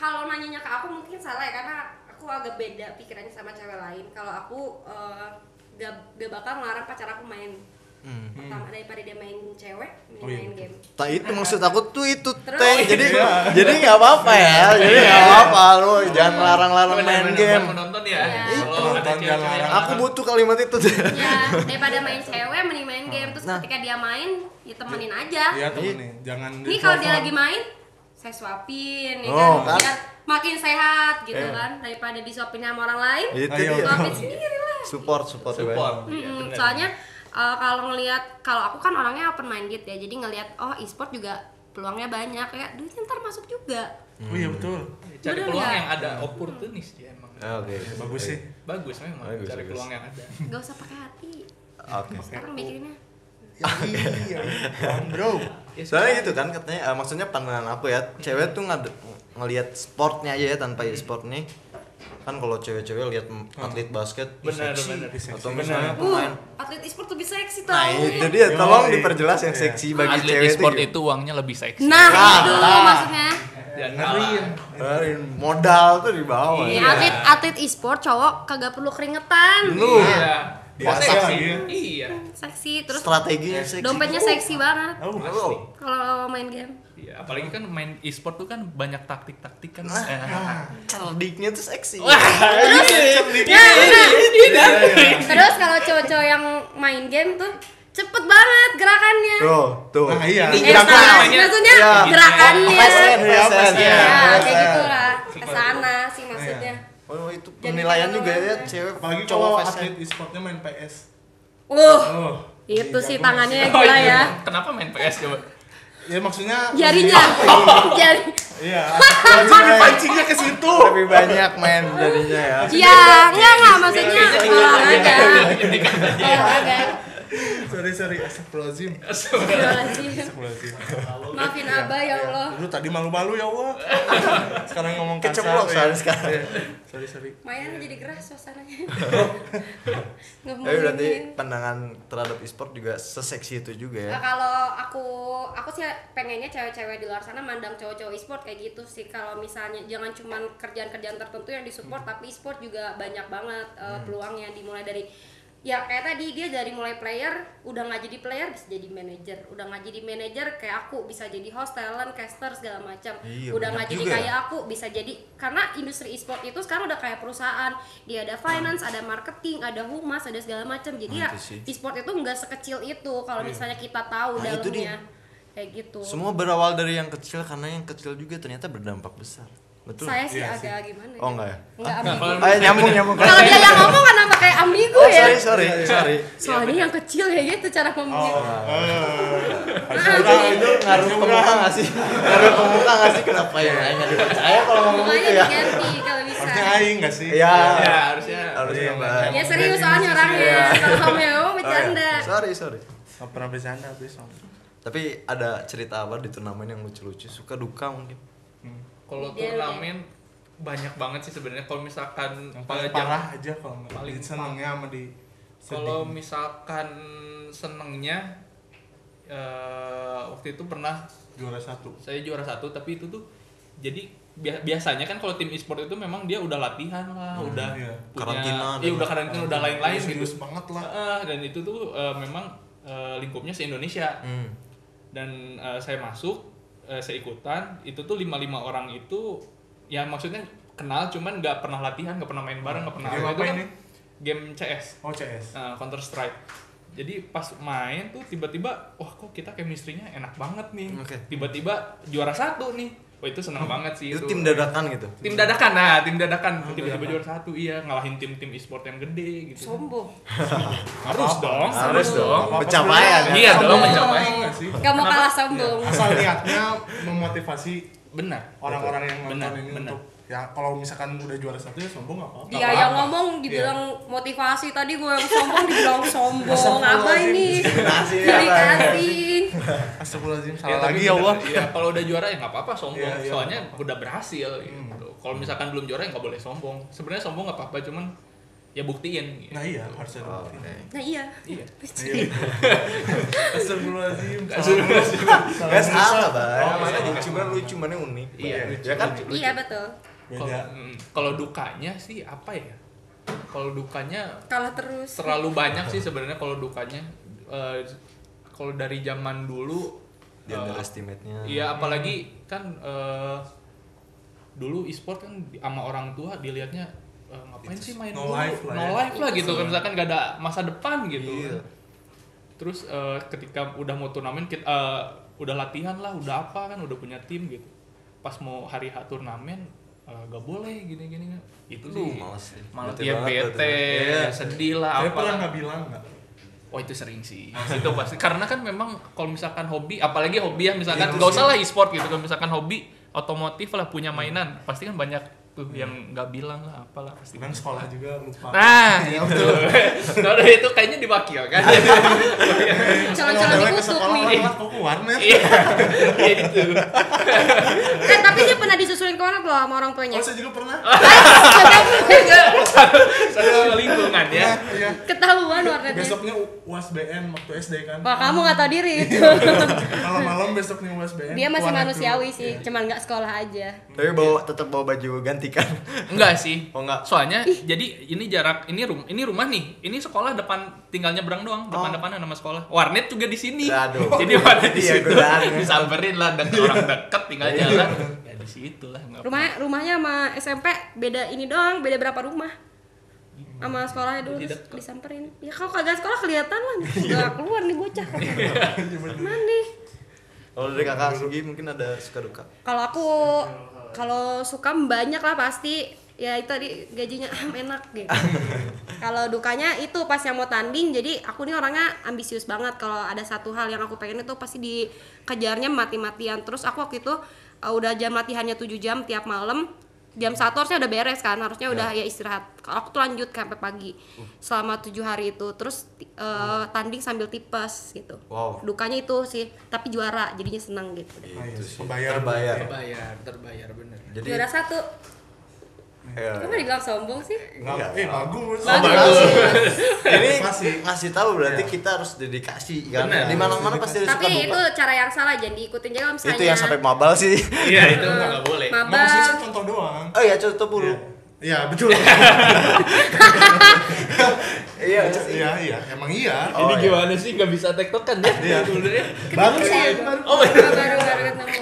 [SPEAKER 4] Kalau nanyanya ke aku mungkin salah ya karena aku agak beda pikirannya sama cewek lain. Kalau aku eh, gak, gak bakal ngelarang pacar aku main.
[SPEAKER 2] Hmm.
[SPEAKER 4] Pertama daripada dia main cewek, main,
[SPEAKER 1] Oh iya,
[SPEAKER 4] main
[SPEAKER 1] betul.
[SPEAKER 4] game.
[SPEAKER 2] Tak itu maksud aku tuh itu
[SPEAKER 4] Terus?
[SPEAKER 2] teh. Jadi
[SPEAKER 1] Iya.
[SPEAKER 2] jadi nggak apa-apa ya. Jadi nggak apa-apa lu jangan larang-larang main
[SPEAKER 3] Benar-benar
[SPEAKER 2] game.
[SPEAKER 3] buat menonton ya
[SPEAKER 4] Iya.
[SPEAKER 1] Itu.
[SPEAKER 3] kalau ada
[SPEAKER 1] Nonton
[SPEAKER 3] cewek-cewek
[SPEAKER 1] jalan.
[SPEAKER 3] yang-
[SPEAKER 2] Aku butuh kalimat itu.
[SPEAKER 4] Ya, daripada main cewek mending main game. Terus
[SPEAKER 2] Nah.
[SPEAKER 4] ketika dia main, ya temenin aja.
[SPEAKER 1] Iya temenin, jangan
[SPEAKER 4] Ini kalau dia lagi
[SPEAKER 1] ditelepon.
[SPEAKER 4] main, saya suapin, ya
[SPEAKER 2] Oh, kan?
[SPEAKER 4] kan? Biar makin sehat gitu
[SPEAKER 1] Eh.
[SPEAKER 4] kan daripada disuapin sama orang
[SPEAKER 2] itu
[SPEAKER 4] lain.
[SPEAKER 1] Ayo.
[SPEAKER 2] Gitu dia.
[SPEAKER 4] Suapin sendiri lah.
[SPEAKER 2] Support support.
[SPEAKER 3] support
[SPEAKER 2] ya.
[SPEAKER 3] Iya,
[SPEAKER 4] Mm-mm,
[SPEAKER 3] benar.
[SPEAKER 4] soalnya uh, kalau ngelihat kalau aku kan orangnya open minded ya, jadi ngelihat oh e-sport juga peluangnya banyak ya, duitnya ntar masuk juga.
[SPEAKER 1] Oh iya betul.
[SPEAKER 3] cari
[SPEAKER 4] Benar
[SPEAKER 3] peluang
[SPEAKER 4] nggak?
[SPEAKER 3] yang ada oportunis dia emang
[SPEAKER 2] Ah, Oke.
[SPEAKER 1] Ya, bagus sih.
[SPEAKER 3] bagus memang
[SPEAKER 2] Bagus,
[SPEAKER 3] cari
[SPEAKER 2] bagus.
[SPEAKER 3] peluang yang ada
[SPEAKER 4] Gak usah pakai hati.
[SPEAKER 2] Oke.
[SPEAKER 4] Sekarang mikirinnya
[SPEAKER 1] Iya, Bang Bro.
[SPEAKER 3] Ya,
[SPEAKER 2] Soalnya gitu kan katanya eh, maksudnya pandangan aku ya cewek tuh nggak ngelihat sportnya aja ya tanpa e-sport nih kan kalau cewek-cewek lihat
[SPEAKER 1] Ah.
[SPEAKER 2] atlet basket ih,
[SPEAKER 3] Benar,
[SPEAKER 2] seksi.
[SPEAKER 3] benar.
[SPEAKER 2] atau
[SPEAKER 1] Benar.
[SPEAKER 2] misalnya
[SPEAKER 4] Uh,
[SPEAKER 2] pemain
[SPEAKER 4] atlet e-sport lebih seksi tau.
[SPEAKER 2] nah itu dia tolong
[SPEAKER 1] Yoi.
[SPEAKER 2] diperjelas yang
[SPEAKER 1] Iya.
[SPEAKER 2] seksi bagi
[SPEAKER 3] atlet
[SPEAKER 2] cewek
[SPEAKER 3] e-sport
[SPEAKER 2] itu gitu. ya?
[SPEAKER 3] itu uangnya lebih seksi
[SPEAKER 4] Nah,
[SPEAKER 2] Ah,
[SPEAKER 4] itu
[SPEAKER 2] ah.
[SPEAKER 4] maksudnya.
[SPEAKER 1] Ya,
[SPEAKER 3] jangan
[SPEAKER 2] Nah.
[SPEAKER 3] kalah
[SPEAKER 2] Eh, modal tuh di bawah
[SPEAKER 4] Ya,
[SPEAKER 2] ya.
[SPEAKER 4] atlet atlet e-sport cowok kagak perlu keringetan.
[SPEAKER 2] Lu.
[SPEAKER 3] iya
[SPEAKER 1] Biasa
[SPEAKER 3] Seksi.
[SPEAKER 1] lagi ya.
[SPEAKER 3] iya
[SPEAKER 4] Seksi terus
[SPEAKER 2] strateginya seksi.
[SPEAKER 4] dompetnya seksi banget
[SPEAKER 1] Oh,
[SPEAKER 2] Oh.
[SPEAKER 4] kalau main game.
[SPEAKER 3] Iya, apalagi kan main e-sport tuh kan banyak taktik-taktik kan. Eh,
[SPEAKER 2] Cerdiknya tuh seksi. Iya,
[SPEAKER 4] Nah,
[SPEAKER 1] Iya,
[SPEAKER 4] nah.
[SPEAKER 3] Iya,
[SPEAKER 4] Terus kalau cowok-cowok yang main game tuh cepet banget gerakannya.
[SPEAKER 2] Tuh, tuh.
[SPEAKER 1] Nah, iya.
[SPEAKER 2] Ini
[SPEAKER 1] Eh,
[SPEAKER 4] Eh,
[SPEAKER 2] gerakan.
[SPEAKER 4] salah,
[SPEAKER 3] namanya.
[SPEAKER 4] maksudnya
[SPEAKER 2] Iya.
[SPEAKER 4] gerakannya.
[SPEAKER 2] Pesen,
[SPEAKER 1] Iya,
[SPEAKER 2] pesen.
[SPEAKER 1] pesen.
[SPEAKER 4] Ya, kayak
[SPEAKER 2] pesen.
[SPEAKER 4] gitulah. Ke sana sih maksudnya.
[SPEAKER 2] Oh, itu
[SPEAKER 4] Jadi
[SPEAKER 2] penilaian
[SPEAKER 4] kayak
[SPEAKER 2] juga ya
[SPEAKER 4] lawan.
[SPEAKER 2] cewek
[SPEAKER 1] Apalagi
[SPEAKER 2] cowok
[SPEAKER 1] kalau
[SPEAKER 2] pesen.
[SPEAKER 1] atlet e-sportnya main PS.
[SPEAKER 4] Uh,
[SPEAKER 1] Oh.
[SPEAKER 4] itu
[SPEAKER 1] Iya,
[SPEAKER 4] sih
[SPEAKER 1] aku
[SPEAKER 4] tangannya
[SPEAKER 3] oh,
[SPEAKER 4] gila
[SPEAKER 3] iya.
[SPEAKER 4] ya.
[SPEAKER 3] Kenapa main PS coba?
[SPEAKER 1] masih- Ya maksudnya
[SPEAKER 4] Jarinya, jari.
[SPEAKER 1] Iya, pancingnya pancingnya ke situ.
[SPEAKER 2] Lebih banyak main jadinya ya.
[SPEAKER 4] Ya, enggak enggak
[SPEAKER 2] Iya,
[SPEAKER 4] maksudnya olahraga. Olahraga.
[SPEAKER 1] Sorry, sorry, astagfirullahaladzim.
[SPEAKER 4] Astagfirullahaladzim.
[SPEAKER 1] Astagfirullahaladzim.
[SPEAKER 4] iya. Maafin Abah ya Allah.
[SPEAKER 1] Lu tadi malu-malu ya Allah. Sekarang ngomong kasar. ya.
[SPEAKER 2] Keceplosan sekarang.
[SPEAKER 1] Iya. Sorry, sorry.
[SPEAKER 4] Mayan jadi gerah suasananya.
[SPEAKER 2] Tapi
[SPEAKER 4] Ngemuin
[SPEAKER 2] berarti ya.
[SPEAKER 4] dia.
[SPEAKER 2] pandangan terhadap e-sport juga seseksi itu juga ya.
[SPEAKER 4] Nah, kalau aku aku sih pengennya cewek-cewek di luar sana mandang cowok-cowok e-sport kayak gitu sih kalau misalnya jangan cuman kerjaan-kerjaan tertentu yang disupport
[SPEAKER 2] Hmm.
[SPEAKER 4] tapi e-sport juga banyak banget uh, peluangnya dimulai dari ya kayak tadi dia dari mulai player udah nggak jadi player bisa jadi manajer udah nggak jadi manajer kayak aku bisa jadi host talent caster segala macam
[SPEAKER 2] Iya,
[SPEAKER 4] udah
[SPEAKER 2] banyak
[SPEAKER 4] nggak jadi
[SPEAKER 2] juga ya.
[SPEAKER 4] kayak aku bisa jadi karena industri e-sport itu sekarang udah kayak perusahaan dia ada finance ada marketing ada humas ada segala macam
[SPEAKER 2] Nah,
[SPEAKER 4] jadi
[SPEAKER 2] itu sih. Iya.
[SPEAKER 4] ya e-sport itu nggak sekecil itu kalau misalnya kita tahu
[SPEAKER 2] Nah, itu
[SPEAKER 4] dalamnya kayak gitu
[SPEAKER 2] Semua berawal dari yang kecil karena yang kecil juga ternyata berdampak besar. Betul.
[SPEAKER 4] saya sih
[SPEAKER 1] Iya
[SPEAKER 4] agak gimana
[SPEAKER 2] Oh enggak ya.
[SPEAKER 4] Nggak ambigu
[SPEAKER 2] Ayo nyambung nyambung.
[SPEAKER 4] kalau dia yang ngomong kenapa kayak ambigu
[SPEAKER 2] Oh,
[SPEAKER 4] ya
[SPEAKER 2] sorry Iya, Oh, sorry sorry.
[SPEAKER 4] soalnya yang kecil ya gitu cara ngomongnya
[SPEAKER 1] Eh,
[SPEAKER 2] Nah, itu ngaruh ke muka nggak sih? Ngaruh ke muka nggak sih? Kenapa ya? Nggak dipercaya kalau ngomong
[SPEAKER 4] makanya
[SPEAKER 2] gitu ya?
[SPEAKER 4] diganti kalau bisa
[SPEAKER 1] Harusnya aing gak sih?
[SPEAKER 2] Iya.
[SPEAKER 3] Ya, harusnya.
[SPEAKER 2] Harusnya
[SPEAKER 1] Iya,
[SPEAKER 2] Mbak.
[SPEAKER 1] makanya.
[SPEAKER 4] ya serius soalnya
[SPEAKER 2] Iya.
[SPEAKER 4] orangnya kalau kamu yang ngomong bercanda
[SPEAKER 2] Sorry, sorry.
[SPEAKER 1] Gak pernah bercanda abis. Om.
[SPEAKER 2] Tapi ada cerita apa di turnamen yang lucu-lucu? Suka duka mungkin.
[SPEAKER 1] Hmm.
[SPEAKER 3] Kalau
[SPEAKER 4] Dia udah-
[SPEAKER 3] turnamen banyak banget sih sebenarnya kalau misalkan
[SPEAKER 1] Yang
[SPEAKER 3] eh,
[SPEAKER 1] paling
[SPEAKER 3] jam-
[SPEAKER 1] parah aja kalau nggak.
[SPEAKER 3] Paling
[SPEAKER 1] Di senengnya sama di
[SPEAKER 3] kalau
[SPEAKER 1] sedih.
[SPEAKER 3] misalkan senengnya eh, waktu itu pernah
[SPEAKER 1] juara satu.
[SPEAKER 3] saya juara satu tapi itu tuh jadi bia- biasanya kan kalau tim e-sport itu memang dia udah latihan lah, udah
[SPEAKER 1] iya.
[SPEAKER 3] punya,
[SPEAKER 2] Karantina dan-
[SPEAKER 3] iya udah karantina, udah lain-lain gitu.
[SPEAKER 1] Serius banget lah.
[SPEAKER 3] Heeh, dan itu tuh eh, memang eh, lingkupnya se Indonesia
[SPEAKER 2] Hmm.
[SPEAKER 3] dan eh, saya masuk eh, saya ikutan itu tuh lima lima orang itu ya maksudnya kenal cuman nggak pernah latihan nggak pernah main bareng nggak pernah
[SPEAKER 1] Game
[SPEAKER 3] apa.
[SPEAKER 1] apa
[SPEAKER 3] itu kan
[SPEAKER 1] ini?
[SPEAKER 3] game CS
[SPEAKER 1] Oh CS.
[SPEAKER 3] eh, Counter Strike jadi pas main tuh tiba-tiba wah kok kita chemistry-nya enak banget nih
[SPEAKER 2] Oke.
[SPEAKER 3] tiba-tiba juara satu nih Wah itu senang banget sih
[SPEAKER 2] Itu
[SPEAKER 3] itu.
[SPEAKER 2] tim dadakan gitu.
[SPEAKER 3] Tim dadakan nah, tim dadakan tiba-tiba juara satu iya ngalahin tim-tim e-sport yang gede gitu.
[SPEAKER 4] sombong
[SPEAKER 3] Harus dong,
[SPEAKER 2] Harus
[SPEAKER 3] Oh,
[SPEAKER 2] dong.
[SPEAKER 1] Apa-apa
[SPEAKER 2] Pencapaian.
[SPEAKER 1] perlu.
[SPEAKER 3] Iya dong,
[SPEAKER 1] Apa-apa
[SPEAKER 3] pencapaian.
[SPEAKER 1] perlu nggak sih?
[SPEAKER 4] nggak mau kalah sombong
[SPEAKER 2] Iya.
[SPEAKER 1] Asal niatnya memotivasi
[SPEAKER 3] Benar.
[SPEAKER 1] orang-orang yang nonton
[SPEAKER 3] Benar,
[SPEAKER 1] ini
[SPEAKER 3] benar.
[SPEAKER 1] untuk ya kalau misalkan udah juara satu ya sombong nggak apa-apa.
[SPEAKER 4] dia
[SPEAKER 3] apa-apa.
[SPEAKER 4] yang ngomong dibilang motivasi tadi gue yang sombong dibilang sombong apa ini
[SPEAKER 2] Diskriminasi ya,
[SPEAKER 4] ciri
[SPEAKER 2] Bang.
[SPEAKER 4] kasih
[SPEAKER 1] Astagfirullahaladzim
[SPEAKER 3] Ya,
[SPEAKER 1] salah
[SPEAKER 3] tapi
[SPEAKER 1] lagi
[SPEAKER 3] bener,
[SPEAKER 1] ya Allah.
[SPEAKER 3] iya, kalau udah juara ya nggak apa-apa sombong.
[SPEAKER 1] Iya, iya,
[SPEAKER 3] Soalnya
[SPEAKER 1] nggak
[SPEAKER 3] udah berhasil
[SPEAKER 1] Hmm.
[SPEAKER 3] gitu. Kalau misalkan belum juara ya nggak boleh sombong. Sebenarnya sombong nggak apa-apa, cuman ya buktiin. Gitu.
[SPEAKER 1] Nah iya harus ada bukti.
[SPEAKER 4] nah iya
[SPEAKER 3] Iya.
[SPEAKER 1] Astagfirullahaladzim.
[SPEAKER 3] Astagfirullahaladzim.
[SPEAKER 1] Salah.
[SPEAKER 2] Gak Iya, salah, Bang.
[SPEAKER 1] Oh,
[SPEAKER 2] Makanya
[SPEAKER 1] iya.
[SPEAKER 2] cuman lucu mana unik.
[SPEAKER 3] Iya,
[SPEAKER 2] Bang.
[SPEAKER 1] lucu,
[SPEAKER 2] Ya kan?
[SPEAKER 3] lucu.
[SPEAKER 4] iya betul
[SPEAKER 1] Beda.
[SPEAKER 3] Kalau- mm, Kalau dukanya sih apa ya? Kalau dukanya
[SPEAKER 4] kalah terus
[SPEAKER 3] terlalu banyak sih sebenarnya kalau dukanya Eh, kalau dari zaman dulu
[SPEAKER 2] Di
[SPEAKER 3] eh,
[SPEAKER 2] underestimate-nya.
[SPEAKER 3] Iya, apalagi kan eh, dulu e-sport kan di- sama orang tua dilihatnya eh, ngapain sih main
[SPEAKER 1] no
[SPEAKER 3] dulu?
[SPEAKER 1] life lah
[SPEAKER 3] no
[SPEAKER 1] ya.
[SPEAKER 3] life lah gitu kan misalkan gak ada masa depan gitu.
[SPEAKER 2] Iya.
[SPEAKER 3] Terus eh, ketika udah mau turnamen kita eh, udah latihan lah, udah apa kan udah punya tim gitu. Pas mau hari H turnamen eh, gak boleh gini-gini kan. itu
[SPEAKER 2] Aduh,
[SPEAKER 3] sih
[SPEAKER 2] males sih.
[SPEAKER 3] malah
[SPEAKER 2] Bete
[SPEAKER 3] ya
[SPEAKER 2] banget,
[SPEAKER 3] bete,
[SPEAKER 2] bete banget. Iya.
[SPEAKER 3] ya sedih lah
[SPEAKER 1] Tapi pernah
[SPEAKER 3] apa
[SPEAKER 1] nggak bilang nggak?
[SPEAKER 3] Oh itu sering sih. itu pasti. Karena kan memang kalau misalkan hobi, apalagi hobi ya misalkan
[SPEAKER 1] Iya,
[SPEAKER 3] nggak
[SPEAKER 1] terus
[SPEAKER 3] usah lah e-sport gitu. Kalau misalkan hobi otomotif lah punya mainan, pasti kan banyak tuh
[SPEAKER 2] Iya.
[SPEAKER 3] yang nggak bilang lah apalah pasti.
[SPEAKER 1] Dengan sekolah juga lupa.
[SPEAKER 3] Nah,
[SPEAKER 2] Iya,
[SPEAKER 3] itu. Kalau itu kayaknya diwakilkan.
[SPEAKER 4] calon-calon
[SPEAKER 1] Kalau ke
[SPEAKER 4] dikutuk
[SPEAKER 1] sekolah
[SPEAKER 4] nih
[SPEAKER 1] orang kok ke warnet.
[SPEAKER 3] Iya. Iya itu.
[SPEAKER 4] eh tapi dia pernah disusulin ke warnet loh sama orang
[SPEAKER 1] Oh
[SPEAKER 4] tuanya
[SPEAKER 1] saya juga pernah.
[SPEAKER 4] Ah.
[SPEAKER 3] Satu lingkungan ya.
[SPEAKER 1] Nah, iya.
[SPEAKER 4] ketahuan warnetnya
[SPEAKER 1] Besoknya U- UASBN waktu SD kan.
[SPEAKER 4] wah kamu nggak tahu diri itu
[SPEAKER 1] Malam-malam besoknya UASBN.
[SPEAKER 4] dia masih
[SPEAKER 1] warnet
[SPEAKER 4] manusiawi
[SPEAKER 1] dulu.
[SPEAKER 4] sih cuman nggak sekolah aja
[SPEAKER 2] Tapi bawa tetap bawa baju ganti kan.
[SPEAKER 3] Enggak sih.
[SPEAKER 2] Oh, enggak.
[SPEAKER 3] Soalnya jadi ini jarak ini rum ini rumah nih. Ini sekolah depan tinggalnya berang doang, depan-depanan nama sekolah. Warnet juga di sini.
[SPEAKER 2] Aduh.
[SPEAKER 3] Jadi warnet di
[SPEAKER 2] Iya,
[SPEAKER 3] situ.
[SPEAKER 2] godaan ya.
[SPEAKER 3] Disamperin lah dan orang deket tinggal jalan. Ya di situ lah. nggak
[SPEAKER 4] rumah rumahnya sama SMP beda ini doang beda berapa rumah sama sekolahnya dulu
[SPEAKER 3] Tidak
[SPEAKER 4] terus disamperin ya kalau kagak sekolah kelihatan lah nggak keluar nih bocah mana nih
[SPEAKER 2] Kalau dari kakak Sugi mungkin ada suka duka.
[SPEAKER 4] kalau aku kalau suka banyak lah pasti ya itu tadi gajinya enak gitu kalau dukanya itu pas yang mau tanding jadi aku nih orangnya ambisius banget kalau ada satu hal yang aku pengen itu pasti dikejarnya mati-matian terus aku waktu itu eh, udah jam latihannya 7 jam tiap malam jam satu harusnya udah beres kan harusnya udah ya istirahat kalau aku tuh lanjut sampai pagi
[SPEAKER 2] Uh.
[SPEAKER 4] selama tujuh hari itu terus ti- eh, tanding sambil tipes gitu
[SPEAKER 2] Wow.
[SPEAKER 4] dukanya itu sih tapi juara jadinya seneng gitu
[SPEAKER 1] Nah, iya,
[SPEAKER 2] Itu sih.
[SPEAKER 1] Terbayar.
[SPEAKER 2] Terbayar.
[SPEAKER 3] Terbayar, terbayar bener.
[SPEAKER 2] Jadi
[SPEAKER 4] juara kan satu
[SPEAKER 2] ya.
[SPEAKER 4] kamu dibilang sombong sih
[SPEAKER 2] Iya.
[SPEAKER 1] Nggak, eh bagus.
[SPEAKER 4] Bagus.
[SPEAKER 2] Ini
[SPEAKER 1] Masih.
[SPEAKER 2] ngasih tahu berarti
[SPEAKER 1] Iya.
[SPEAKER 2] kita harus dedikasi kan.
[SPEAKER 3] Benar.
[SPEAKER 2] Di mana-mana pasti ada suka
[SPEAKER 4] tapi itu
[SPEAKER 2] duka.
[SPEAKER 4] cara yang salah jangan diikutin jadi kalau misalnya
[SPEAKER 2] Itu yang sampai mabal sih.
[SPEAKER 3] Iya itu nggak boleh.
[SPEAKER 1] Nggak sih
[SPEAKER 4] mabal
[SPEAKER 1] saya contoh doang.
[SPEAKER 2] Oh ya contoh
[SPEAKER 1] Iya.
[SPEAKER 2] buruk.
[SPEAKER 1] Iya betul.
[SPEAKER 2] Iya.
[SPEAKER 1] Iya iya emang iya.
[SPEAKER 2] Oh, iya.
[SPEAKER 3] gimana sih nggak bisa tektokan ya? Iya.
[SPEAKER 1] Baru sih.
[SPEAKER 4] Saya-
[SPEAKER 1] baru.
[SPEAKER 4] Oh, baru baru baru ketemu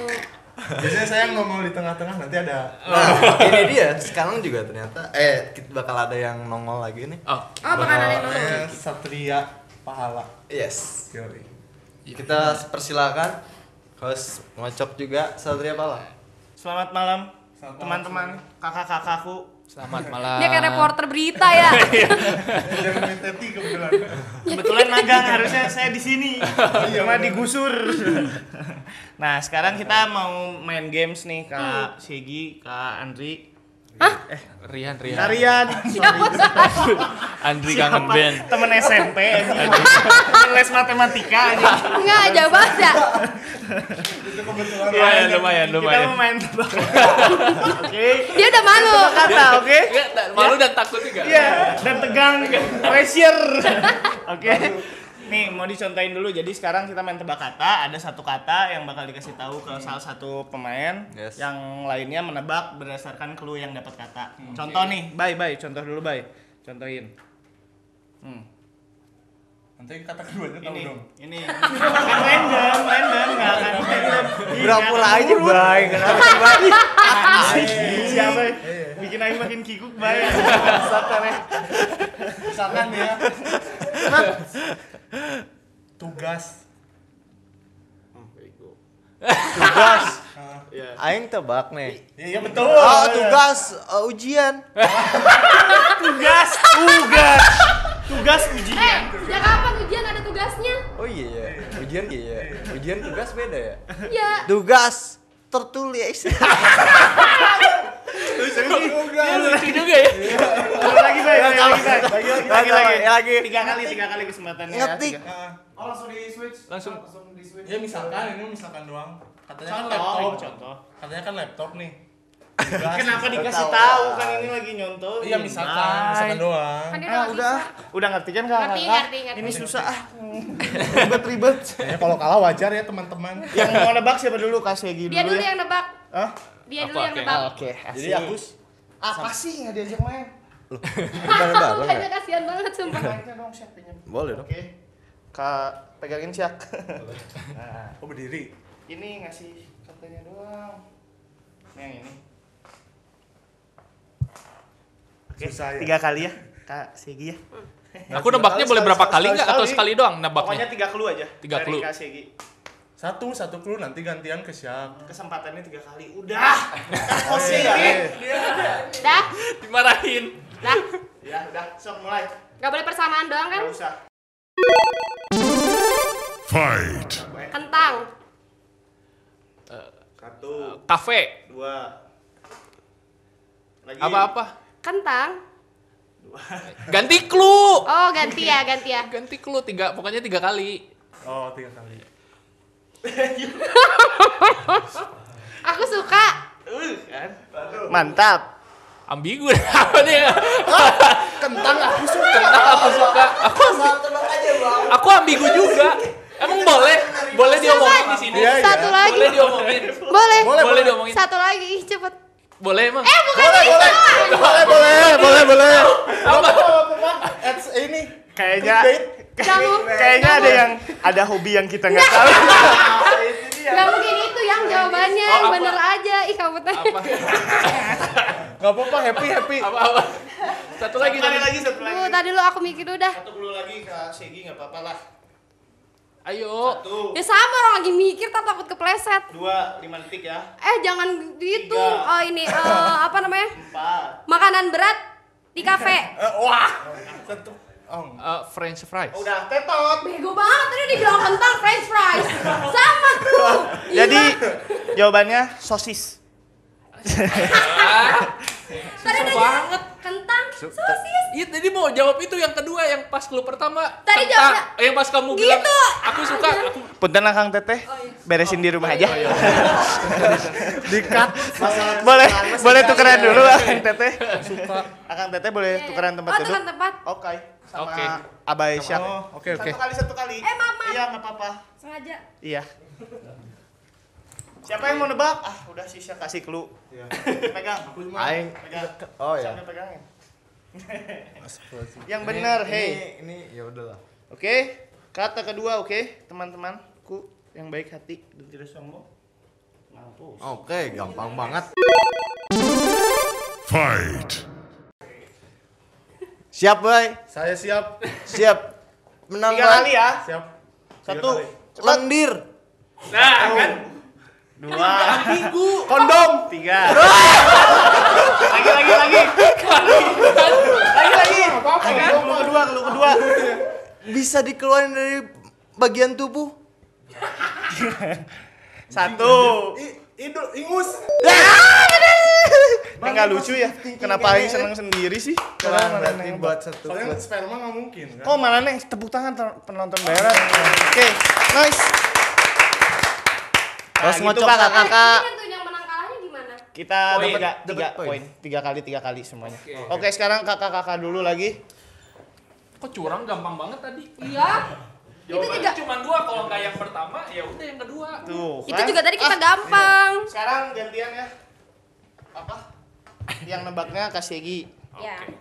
[SPEAKER 1] Biasanya saya yang nongol di tengah-tengah nanti ada.
[SPEAKER 2] Nah, ini dia. Sekarang juga ternyata eh kita bakal ada yang nongol lagi nih.
[SPEAKER 3] Oh.
[SPEAKER 4] oh bakal ada yang nongol
[SPEAKER 1] namanya Eh, Satria Pahala.
[SPEAKER 2] Yes.
[SPEAKER 1] Yoi.
[SPEAKER 2] Kita persilakan host ngocok juga Satria Pala.
[SPEAKER 5] Selamat malam teman-teman, kakak-kakakku.
[SPEAKER 3] Selamat malam.
[SPEAKER 4] dia kayak reporter berita ya
[SPEAKER 1] Dan main teti kebetulan.
[SPEAKER 5] Kebetulan magang harusnya saya di sini,
[SPEAKER 3] Iya,
[SPEAKER 5] cuma digusur. nah, sekarang kita mau main games
[SPEAKER 4] Hmm.
[SPEAKER 5] nih Kak Segi, Kak Andri,
[SPEAKER 3] Rian, Rian.
[SPEAKER 5] Tarian.
[SPEAKER 3] Iya. Andri kangen band.
[SPEAKER 5] Temen SMP anjing. Temen les matematika anjing.
[SPEAKER 4] nggak jauh banget ya
[SPEAKER 1] Itu kebetulan.
[SPEAKER 3] Lumayan,
[SPEAKER 5] Iya,
[SPEAKER 3] lumayan,
[SPEAKER 5] Kita
[SPEAKER 3] lumayan.
[SPEAKER 5] mau main tebak Oke.
[SPEAKER 4] dia udah malu kan?
[SPEAKER 5] Tebak kata, oke?
[SPEAKER 3] Nggak, Malu dan takut juga.
[SPEAKER 5] Iya, dan tegang, pressure. Oke. Nih, mau dicontohin dulu. Jadi sekarang kita main tebak kata, ada satu kata yang bakal dikasih tahu ke salah satu pemain,
[SPEAKER 2] Yes.
[SPEAKER 5] yang lainnya menebak berdasarkan clue yang dapat kata. Contoh nih, bye bye, contoh dulu bye. Contohin. Hmm.
[SPEAKER 1] Nanti kata keduanya tahu
[SPEAKER 5] Ini,
[SPEAKER 1] dong.
[SPEAKER 5] ini. Kan random, random, nggak akan random. Ih,
[SPEAKER 2] Udah
[SPEAKER 5] nggak
[SPEAKER 2] pula
[SPEAKER 5] akan
[SPEAKER 2] aja,
[SPEAKER 5] buruk.
[SPEAKER 2] Bay. Kenapa sih, Bay?
[SPEAKER 5] Siapa? Bikin aku makin kikuk, bye. Satan ya.
[SPEAKER 1] Misalkan ya. Tugas
[SPEAKER 2] tugas
[SPEAKER 5] Iya.
[SPEAKER 2] aing tebak nih
[SPEAKER 1] Ya, iya betul.
[SPEAKER 2] ah tugas eh, ujian
[SPEAKER 5] Tugas, tugas. Tugas
[SPEAKER 4] Eh,
[SPEAKER 5] ujian.
[SPEAKER 4] sejak kapan ujian ada tugasnya?
[SPEAKER 2] oh iya ya ujian iya ya ujian tugas beda ya
[SPEAKER 4] Ya,
[SPEAKER 2] tugas tertulis
[SPEAKER 3] lucu juga ya
[SPEAKER 5] Sekali lagi, Bay. Sekali lagi, Bay.
[SPEAKER 1] Lagi, lagi,
[SPEAKER 5] Lagi, lagi.
[SPEAKER 2] Ya, lagi.
[SPEAKER 5] Tiga kali, tiga kali kesempatannya. ya.
[SPEAKER 2] ngetik
[SPEAKER 5] Tiga.
[SPEAKER 1] Ah,
[SPEAKER 6] Oh langsung di switch.
[SPEAKER 3] Langsung.
[SPEAKER 6] di switch.
[SPEAKER 1] ya misalkan ini misalkan doang. Katanya kan
[SPEAKER 5] Contoh,
[SPEAKER 1] laptop.
[SPEAKER 5] contoh.
[SPEAKER 1] Katanya kan laptop nih. Tugas.
[SPEAKER 5] Kenapa dikasih
[SPEAKER 2] tahu,
[SPEAKER 5] tahu
[SPEAKER 2] Bay.
[SPEAKER 5] kan ini lagi nyontoh?
[SPEAKER 1] Iya misalkan, misalkan doang.
[SPEAKER 4] kan dia
[SPEAKER 5] Ah,
[SPEAKER 4] udah
[SPEAKER 5] udah. Udah ngerti kan kakak?
[SPEAKER 4] Ngerti, ngerti, ngerti.
[SPEAKER 5] Ini susah ah. Ribet-ribet.
[SPEAKER 1] Ya kalau kalah wajar ya teman-teman.
[SPEAKER 5] Yang mau nebak siapa dulu kasih gini
[SPEAKER 4] Dia dulu
[SPEAKER 5] ya?
[SPEAKER 4] yang nebak.
[SPEAKER 5] Hah? Ah,
[SPEAKER 4] Dia dulu
[SPEAKER 3] Apa,
[SPEAKER 4] yang
[SPEAKER 3] Keng?
[SPEAKER 4] nebak.
[SPEAKER 5] Oke.
[SPEAKER 2] jadi
[SPEAKER 5] asik.
[SPEAKER 2] aku
[SPEAKER 5] apa sih nggak diajak main?
[SPEAKER 2] bareng-bareng ya?
[SPEAKER 4] Makanya kasihan banget sumpah.
[SPEAKER 5] Mainnya dong siap pinjam.
[SPEAKER 2] boleh dong
[SPEAKER 5] Oke. Kak pegangin siak. nah,
[SPEAKER 1] Oh berdiri.
[SPEAKER 5] ini ngasih katanya doang. Ini yang ini.
[SPEAKER 1] Susah ya.
[SPEAKER 5] Tiga kali ya. Kak Segi ya.
[SPEAKER 3] aku nebaknya boleh berapa
[SPEAKER 5] sekali,
[SPEAKER 3] kali nggak atau sekali
[SPEAKER 5] sekali.
[SPEAKER 3] doang
[SPEAKER 5] Pokoknya
[SPEAKER 3] nebaknya
[SPEAKER 5] tiga clue aja.
[SPEAKER 3] Tiga
[SPEAKER 5] Dari
[SPEAKER 3] clue.
[SPEAKER 5] Kak Segi.
[SPEAKER 1] Satu satu clue nanti gantian ke Syak.
[SPEAKER 5] Kesempatannya tiga kali. Udah. Positif.
[SPEAKER 4] Dah,
[SPEAKER 3] dimarahin
[SPEAKER 4] dah.
[SPEAKER 5] Ya, udah. Sok mulai.
[SPEAKER 4] Gak boleh persamaan doang kan?
[SPEAKER 5] Gak usah.
[SPEAKER 7] Fight.
[SPEAKER 4] Kentang,
[SPEAKER 5] Satu,
[SPEAKER 3] kafe
[SPEAKER 5] dua. Lagi.
[SPEAKER 3] apa apa
[SPEAKER 4] kentang.
[SPEAKER 3] ganti clue
[SPEAKER 4] Oh ganti ya, ganti ya.
[SPEAKER 3] ganti clue tiga pokoknya tiga kali
[SPEAKER 1] Oh tiga kali.
[SPEAKER 4] Aku suka.
[SPEAKER 5] Uh, kan? Mantap.
[SPEAKER 3] ambigu apa dia
[SPEAKER 5] Kentang aku suka.
[SPEAKER 3] Kenapa aku suka aku aku ambigu juga emang boleh boleh diomongin di sini
[SPEAKER 1] Iya, iya.
[SPEAKER 4] Satu lagi.
[SPEAKER 3] boleh diomongin
[SPEAKER 4] Boleh.
[SPEAKER 3] boleh boleh diomongin
[SPEAKER 4] Satu lagi, ih, cepet.
[SPEAKER 3] boleh emang
[SPEAKER 4] Eh bukan boleh,
[SPEAKER 1] Boleh boleh boleh boleh.
[SPEAKER 3] apa
[SPEAKER 1] Ads ini.
[SPEAKER 5] Kayaknya
[SPEAKER 4] Kamu,
[SPEAKER 5] kayaknya
[SPEAKER 4] kamu.
[SPEAKER 5] ada yang ada hobi yang kita nggak tahu.
[SPEAKER 4] Gak mungkin itu yang jawabannya, yang
[SPEAKER 3] apa?
[SPEAKER 4] bener aja. Ih kamu tanya.
[SPEAKER 5] Ya.
[SPEAKER 1] Gak apa-apa happy happy.
[SPEAKER 3] apa apa satu lagi
[SPEAKER 5] Lagi
[SPEAKER 3] lagi
[SPEAKER 5] lagi lagi satu
[SPEAKER 4] Lu
[SPEAKER 5] lagi.
[SPEAKER 4] tadi lu aku mikir udah.
[SPEAKER 5] Satu clue lagi ke Segi nggak apa-apa lah.
[SPEAKER 3] ayo
[SPEAKER 5] Satu,
[SPEAKER 4] Ya sama orang lagi mikir tak takut kepleset.
[SPEAKER 5] dua, lima detik ya.
[SPEAKER 4] Eh jangan gitu.
[SPEAKER 5] Tiga.
[SPEAKER 4] Oh ini eh, apa namanya?
[SPEAKER 5] Empat.
[SPEAKER 4] Makanan berat di kafe.
[SPEAKER 1] Eh, wah. Satu. Oh,
[SPEAKER 3] Eh, French fries
[SPEAKER 5] Oh, Udah tetot.
[SPEAKER 4] Bego banget tadi dibilang kentang french fries. Sama tuh. Gila.
[SPEAKER 5] Jadi jawabannya sosis.
[SPEAKER 4] tadi udah banget kentang sosis.
[SPEAKER 3] Iya tadi mau jawab itu yang kedua yang pas lu pertama
[SPEAKER 4] Tadi
[SPEAKER 3] tentang-
[SPEAKER 4] jawabnya-
[SPEAKER 3] eh, yang pas kamu
[SPEAKER 4] Gitu.
[SPEAKER 3] bilang aku suka
[SPEAKER 4] Ah,
[SPEAKER 3] aku
[SPEAKER 5] Punten lah Kang Teteh.
[SPEAKER 4] Oh, iya.
[SPEAKER 5] Beresin di rumah aja.
[SPEAKER 1] dikat.
[SPEAKER 5] Boleh boleh
[SPEAKER 4] Iya,
[SPEAKER 5] tukeran dulu lah Kang Teteh.
[SPEAKER 1] Suka.
[SPEAKER 5] Akang Teteh boleh tukeran tempat
[SPEAKER 4] oh,
[SPEAKER 5] duduk.
[SPEAKER 4] tukeran tempat.
[SPEAKER 5] Oke. Sama
[SPEAKER 3] Oke.
[SPEAKER 5] Abai Syak.
[SPEAKER 1] Oh, oke oke.
[SPEAKER 5] Satu kali satu kali.
[SPEAKER 4] Eh, Mama.
[SPEAKER 5] Iya nggak apa-apa.
[SPEAKER 4] Sengaja.
[SPEAKER 5] Iya. Siapa yang mau nebak? Ah udah sih Syak kasih clue.
[SPEAKER 1] Iya.
[SPEAKER 5] Pegang.
[SPEAKER 2] aing
[SPEAKER 5] Pegang.
[SPEAKER 2] oh ya
[SPEAKER 5] Sampai pegangin.
[SPEAKER 1] Astagfirullahaladzim.
[SPEAKER 5] Yang benar,
[SPEAKER 2] Ini-
[SPEAKER 5] hey.
[SPEAKER 2] ini ini ya udahlah
[SPEAKER 5] Oke. Kata kedua, oke, teman-teman. Ku yang baik hati dan tidak sombong. Mampus.
[SPEAKER 2] oke gampang banget
[SPEAKER 7] Fight.
[SPEAKER 2] siap bay
[SPEAKER 1] Saya siap.
[SPEAKER 2] siap menang
[SPEAKER 5] Tiga
[SPEAKER 2] Bay.
[SPEAKER 5] kali ya.
[SPEAKER 1] Siap. Tiga
[SPEAKER 5] Satu.
[SPEAKER 1] kali.
[SPEAKER 2] lendir
[SPEAKER 5] Dua.
[SPEAKER 1] Kondom.
[SPEAKER 5] Tiga. lagi lagi lagi. lagi lagi. Lagi Lu kedua, lu kedua.
[SPEAKER 2] bisa dikeluarin dari bagian tubuh
[SPEAKER 5] Satu.
[SPEAKER 1] I- Idu, ingus.
[SPEAKER 5] Enggak lucu ya. Kenapa Aing seneng sendiri sih?
[SPEAKER 2] kurang
[SPEAKER 5] Kenapa
[SPEAKER 2] berarti
[SPEAKER 5] neng-
[SPEAKER 2] buat satu
[SPEAKER 1] Soalnya
[SPEAKER 2] kelas.
[SPEAKER 1] sperma nggak mungkin kan?
[SPEAKER 5] Oh malah neng tepuk tangan ter- penonton bayaran. Oke, nice.
[SPEAKER 2] Terus
[SPEAKER 5] gitu,
[SPEAKER 2] ngocok
[SPEAKER 5] Kak.
[SPEAKER 2] kakak.
[SPEAKER 4] Eh, ini tuh yang menang kalahnya gimana?
[SPEAKER 5] Kita
[SPEAKER 3] Poin.
[SPEAKER 5] dapat
[SPEAKER 2] Dapat
[SPEAKER 5] tiga
[SPEAKER 2] poin.
[SPEAKER 5] poin, tiga kali tiga kali semuanya. Oke, sekarang kakak-kakak dulu lagi.
[SPEAKER 3] kok curang gampang banget tadi
[SPEAKER 4] Iya. Itu juga
[SPEAKER 3] Jawabannya cuma dua kalau nggak yang pertama ya udah yang kedua
[SPEAKER 5] Tuh.
[SPEAKER 4] itu
[SPEAKER 5] kan?
[SPEAKER 4] juga tadi
[SPEAKER 3] Ah.
[SPEAKER 4] kita gampang.
[SPEAKER 5] Sekarang gantian ya. Apa? Yang nebaknya Kak Segi.
[SPEAKER 4] Ya.
[SPEAKER 3] Iya.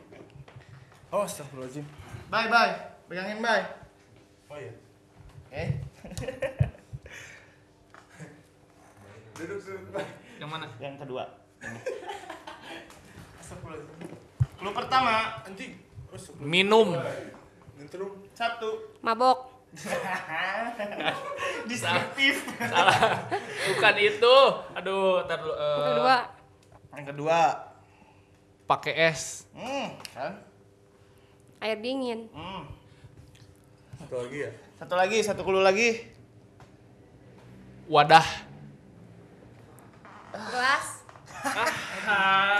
[SPEAKER 1] Oh, astagfirullahaladzim.
[SPEAKER 5] Bye bye. Pegangin bye.
[SPEAKER 1] Oh iya.
[SPEAKER 5] Eh,
[SPEAKER 1] Duduk, duduk. Bay.
[SPEAKER 3] yang mana
[SPEAKER 5] yang kedua.
[SPEAKER 1] Astagfirullahaladzim.
[SPEAKER 5] Lu pertama
[SPEAKER 1] Anjing. Oh, astagfirullahaladzim.
[SPEAKER 3] minum
[SPEAKER 1] Nyentrum.
[SPEAKER 5] satu.
[SPEAKER 4] Mabok.
[SPEAKER 5] Disruptif.
[SPEAKER 3] Salah. Bukan itu. Aduh, ntar dulu. eh,
[SPEAKER 4] Kedua,
[SPEAKER 5] Yang kedua,
[SPEAKER 3] Pakai es.
[SPEAKER 5] hmm, kan?
[SPEAKER 4] air dingin.
[SPEAKER 5] Hmm.
[SPEAKER 1] Satu lagi ya?
[SPEAKER 5] Satu lagi, satu kulu lagi.
[SPEAKER 3] Wadah.
[SPEAKER 4] Gelas.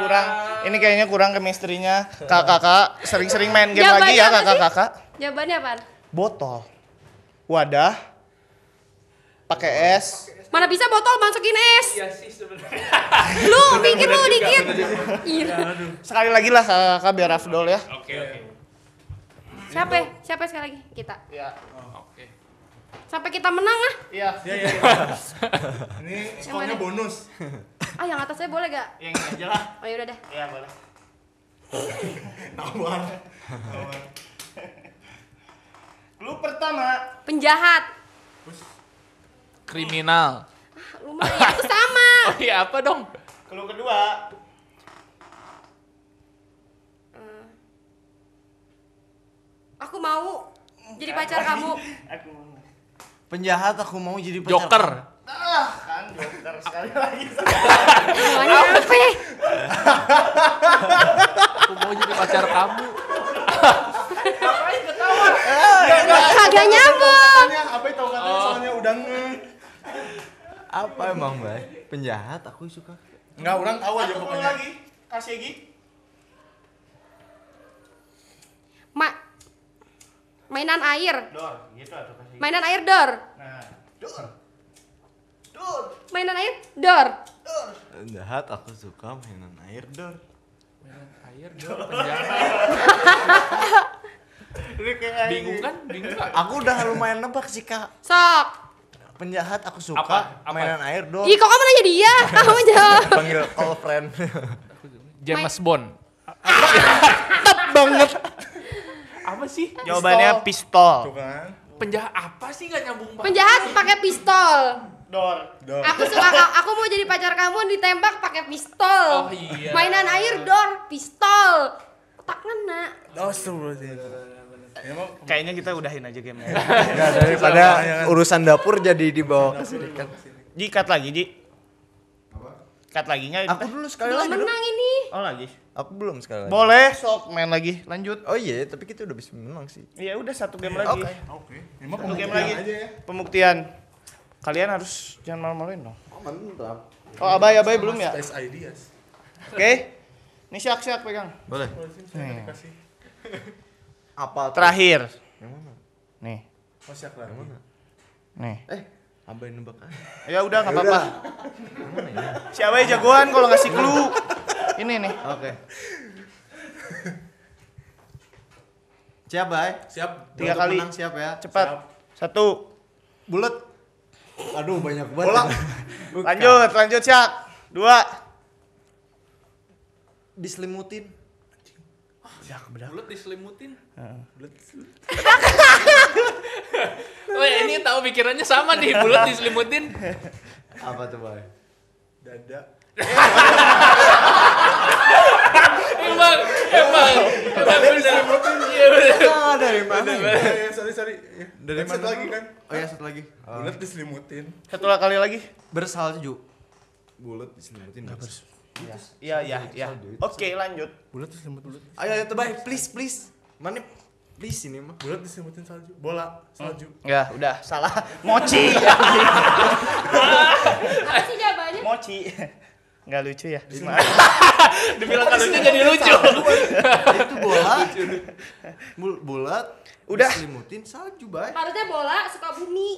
[SPEAKER 5] Kurang. Ini kayaknya kurang chemistry-nya. Kakak-kakak sering-sering main game
[SPEAKER 4] Jawabannya
[SPEAKER 5] lagi ya
[SPEAKER 4] apa sih?
[SPEAKER 5] kakak-kakak.
[SPEAKER 4] Jawabannya apaan?
[SPEAKER 5] Botol. Wadah. Pakai es.
[SPEAKER 4] Mana bisa botol masukin es?
[SPEAKER 3] Iya sih sebenarnya.
[SPEAKER 4] Lu pikir lu dikit. Iya.
[SPEAKER 5] Sekali lagi lah kakak-kakak biar afdol ya.
[SPEAKER 3] Oke, oke.
[SPEAKER 4] Siapa? ya? Siapa sekali lagi? Kita.
[SPEAKER 5] Iya.
[SPEAKER 3] Oke.
[SPEAKER 4] Sampai kita menang ah.
[SPEAKER 5] Iya.
[SPEAKER 1] Ya, ya, ya. Ini skornya
[SPEAKER 4] mana?
[SPEAKER 1] bonus.
[SPEAKER 4] Ah, yang atasnya boleh gak?
[SPEAKER 5] Yang ini aja lah.
[SPEAKER 4] Oh yaudah deh.
[SPEAKER 5] Iya boleh.
[SPEAKER 1] Tawar.
[SPEAKER 5] Lu pertama.
[SPEAKER 4] Penjahat.
[SPEAKER 3] Kriminal.
[SPEAKER 4] Ah, Lu mah ya, itu sama.
[SPEAKER 3] Oh iya apa dong?
[SPEAKER 5] Kelu kedua.
[SPEAKER 4] Aku mau jadi pacar kamu.
[SPEAKER 5] Aku
[SPEAKER 2] Penjahat aku mau jadi pacar.
[SPEAKER 3] Joker.
[SPEAKER 5] Ah, kan dokter sekali lagi.
[SPEAKER 4] Hubungannya apa ya?
[SPEAKER 3] Aku mau jadi pacar kamu.
[SPEAKER 4] Kagak nyambung.
[SPEAKER 1] Tanya, apa itu katanya soalnya udah nge.
[SPEAKER 2] Apa emang, Mbak? Penjahat aku suka.
[SPEAKER 1] Enggak, orang tahu aja
[SPEAKER 5] Satu kulu
[SPEAKER 1] pokoknya.
[SPEAKER 5] lagi. Kasih lagi.
[SPEAKER 4] Ma mainan air.
[SPEAKER 5] Dor, gitu atau kasih.
[SPEAKER 4] Mainan air door.
[SPEAKER 5] Nah, dor. Dor,
[SPEAKER 4] Mainan air door.
[SPEAKER 5] dor.
[SPEAKER 2] Penjahat aku suka mainan air dor.
[SPEAKER 3] Air dong, penjahat.
[SPEAKER 5] Ini kayak
[SPEAKER 3] Bingung kan? Bingung gak?
[SPEAKER 2] Aku udah lumayan nebak sih, Kak.
[SPEAKER 4] Sok.
[SPEAKER 2] Penjahat aku suka
[SPEAKER 3] Apa? Apa?
[SPEAKER 2] mainan air dor.
[SPEAKER 4] Ih, kok kamu nanya dia? Kamu jawab.
[SPEAKER 2] Panggil call friend.
[SPEAKER 3] James Bond.
[SPEAKER 5] banget.
[SPEAKER 3] Apa sih?
[SPEAKER 5] Jawabannya
[SPEAKER 1] Tuh
[SPEAKER 5] pistol.
[SPEAKER 1] kan.
[SPEAKER 3] Penjahat apa sih gak nyambung banget?
[SPEAKER 4] Penjahat pakai pistol.
[SPEAKER 5] Dor.
[SPEAKER 1] Dor.
[SPEAKER 4] Aku suka ka- aku mau jadi pacar kamu ditembak pakai pistol.
[SPEAKER 3] Oh, iya.
[SPEAKER 4] Mainan air dor pistol. Otak ngena.
[SPEAKER 1] Astagfirullahaladzim. Ya, mau
[SPEAKER 5] Kayaknya kita udahin aja game
[SPEAKER 2] Nah, daripada urusan dapur jadi dibawa ke sini kan.
[SPEAKER 5] Ji, cut lagi, Ji. Cut lagi nya.
[SPEAKER 2] Aku dulu sekali
[SPEAKER 4] Belum
[SPEAKER 2] lagi. dong.
[SPEAKER 4] menang ini.
[SPEAKER 5] Oh, lagi.
[SPEAKER 2] Aku belum sekali lagi.
[SPEAKER 5] Boleh, sok main lagi. Lanjut.
[SPEAKER 2] Oh iya, tapi kita udah bisa menang sih.
[SPEAKER 5] Ya udah satu game lagi.
[SPEAKER 2] Oke.
[SPEAKER 1] Oke. Ini mah
[SPEAKER 5] Satu game
[SPEAKER 1] pembuktian
[SPEAKER 5] lagi.
[SPEAKER 1] aja ya.
[SPEAKER 5] Pembuktian. Kalian harus jangan malu-maluin dong.
[SPEAKER 2] Oh, mantap.
[SPEAKER 5] Oh, Abai, Abai belum ya?
[SPEAKER 1] Space ideas.
[SPEAKER 5] Oke. Ini siak-siak pegang.
[SPEAKER 2] Boleh.
[SPEAKER 1] Astagfirullahaladzim, saya nggak dikasih.
[SPEAKER 2] Apa
[SPEAKER 5] Terakhir.
[SPEAKER 2] Yang mana?
[SPEAKER 5] Nih.
[SPEAKER 1] Oh, siap lagi.
[SPEAKER 5] Nih.
[SPEAKER 2] Eh, abai nebak aja.
[SPEAKER 5] Ya udah nggak
[SPEAKER 2] Ya
[SPEAKER 5] apa-apa.
[SPEAKER 2] Yang mana ya?
[SPEAKER 5] Si Abai jagoan kalau ngasih clue. Ini nih.
[SPEAKER 2] Oke. Siap, Bay.
[SPEAKER 1] Siap.
[SPEAKER 5] Tiga
[SPEAKER 2] Untuk
[SPEAKER 5] kali.
[SPEAKER 2] menang siap ya.
[SPEAKER 5] Cepat. Satu.
[SPEAKER 2] Bulat. Aduh, banyak banget.
[SPEAKER 1] Bola.
[SPEAKER 2] Bukan.
[SPEAKER 5] Lanjut, lanjut siak. Dua.
[SPEAKER 2] Diselimutin.
[SPEAKER 3] Mulut diselimutin. Weh, ini tahu pikirannya sama nih, bulat diselimutin.
[SPEAKER 2] Apa tuh, Bay?
[SPEAKER 1] Dada.
[SPEAKER 3] Emang, emang, emang bener. Iya, bener.
[SPEAKER 2] Ah, dari mana?
[SPEAKER 1] Eh,
[SPEAKER 2] ya?
[SPEAKER 1] eh, sorry, sorry. Ya,
[SPEAKER 2] Dari
[SPEAKER 1] headset
[SPEAKER 2] mana?
[SPEAKER 1] lagi kan?
[SPEAKER 2] Oh ya, satu lagi.
[SPEAKER 1] Bulat diselimutin.
[SPEAKER 5] Satu kali lagi.
[SPEAKER 2] Bersalju. Bulat diselimutin. Enggak
[SPEAKER 5] Iya, iya, iya. Oke, lanjut.
[SPEAKER 1] Bulat diselimutin.
[SPEAKER 2] Ayo, ayo, tuh, Bay. Please, please. Mana please ini mah.
[SPEAKER 1] Bulat diselimutin salju. Bola, salju.
[SPEAKER 5] Ya, udah salah. Mochi. Ya,
[SPEAKER 4] Apa sih jawabannya?
[SPEAKER 5] Mochi. Enggak lucu ya.
[SPEAKER 3] Dibilang kalau lucu jadi lucu.
[SPEAKER 2] Itu bola. Bul- bulat.
[SPEAKER 5] Udah.
[SPEAKER 2] Diselimutin salju, Bay.
[SPEAKER 4] Harusnya bola suka bumi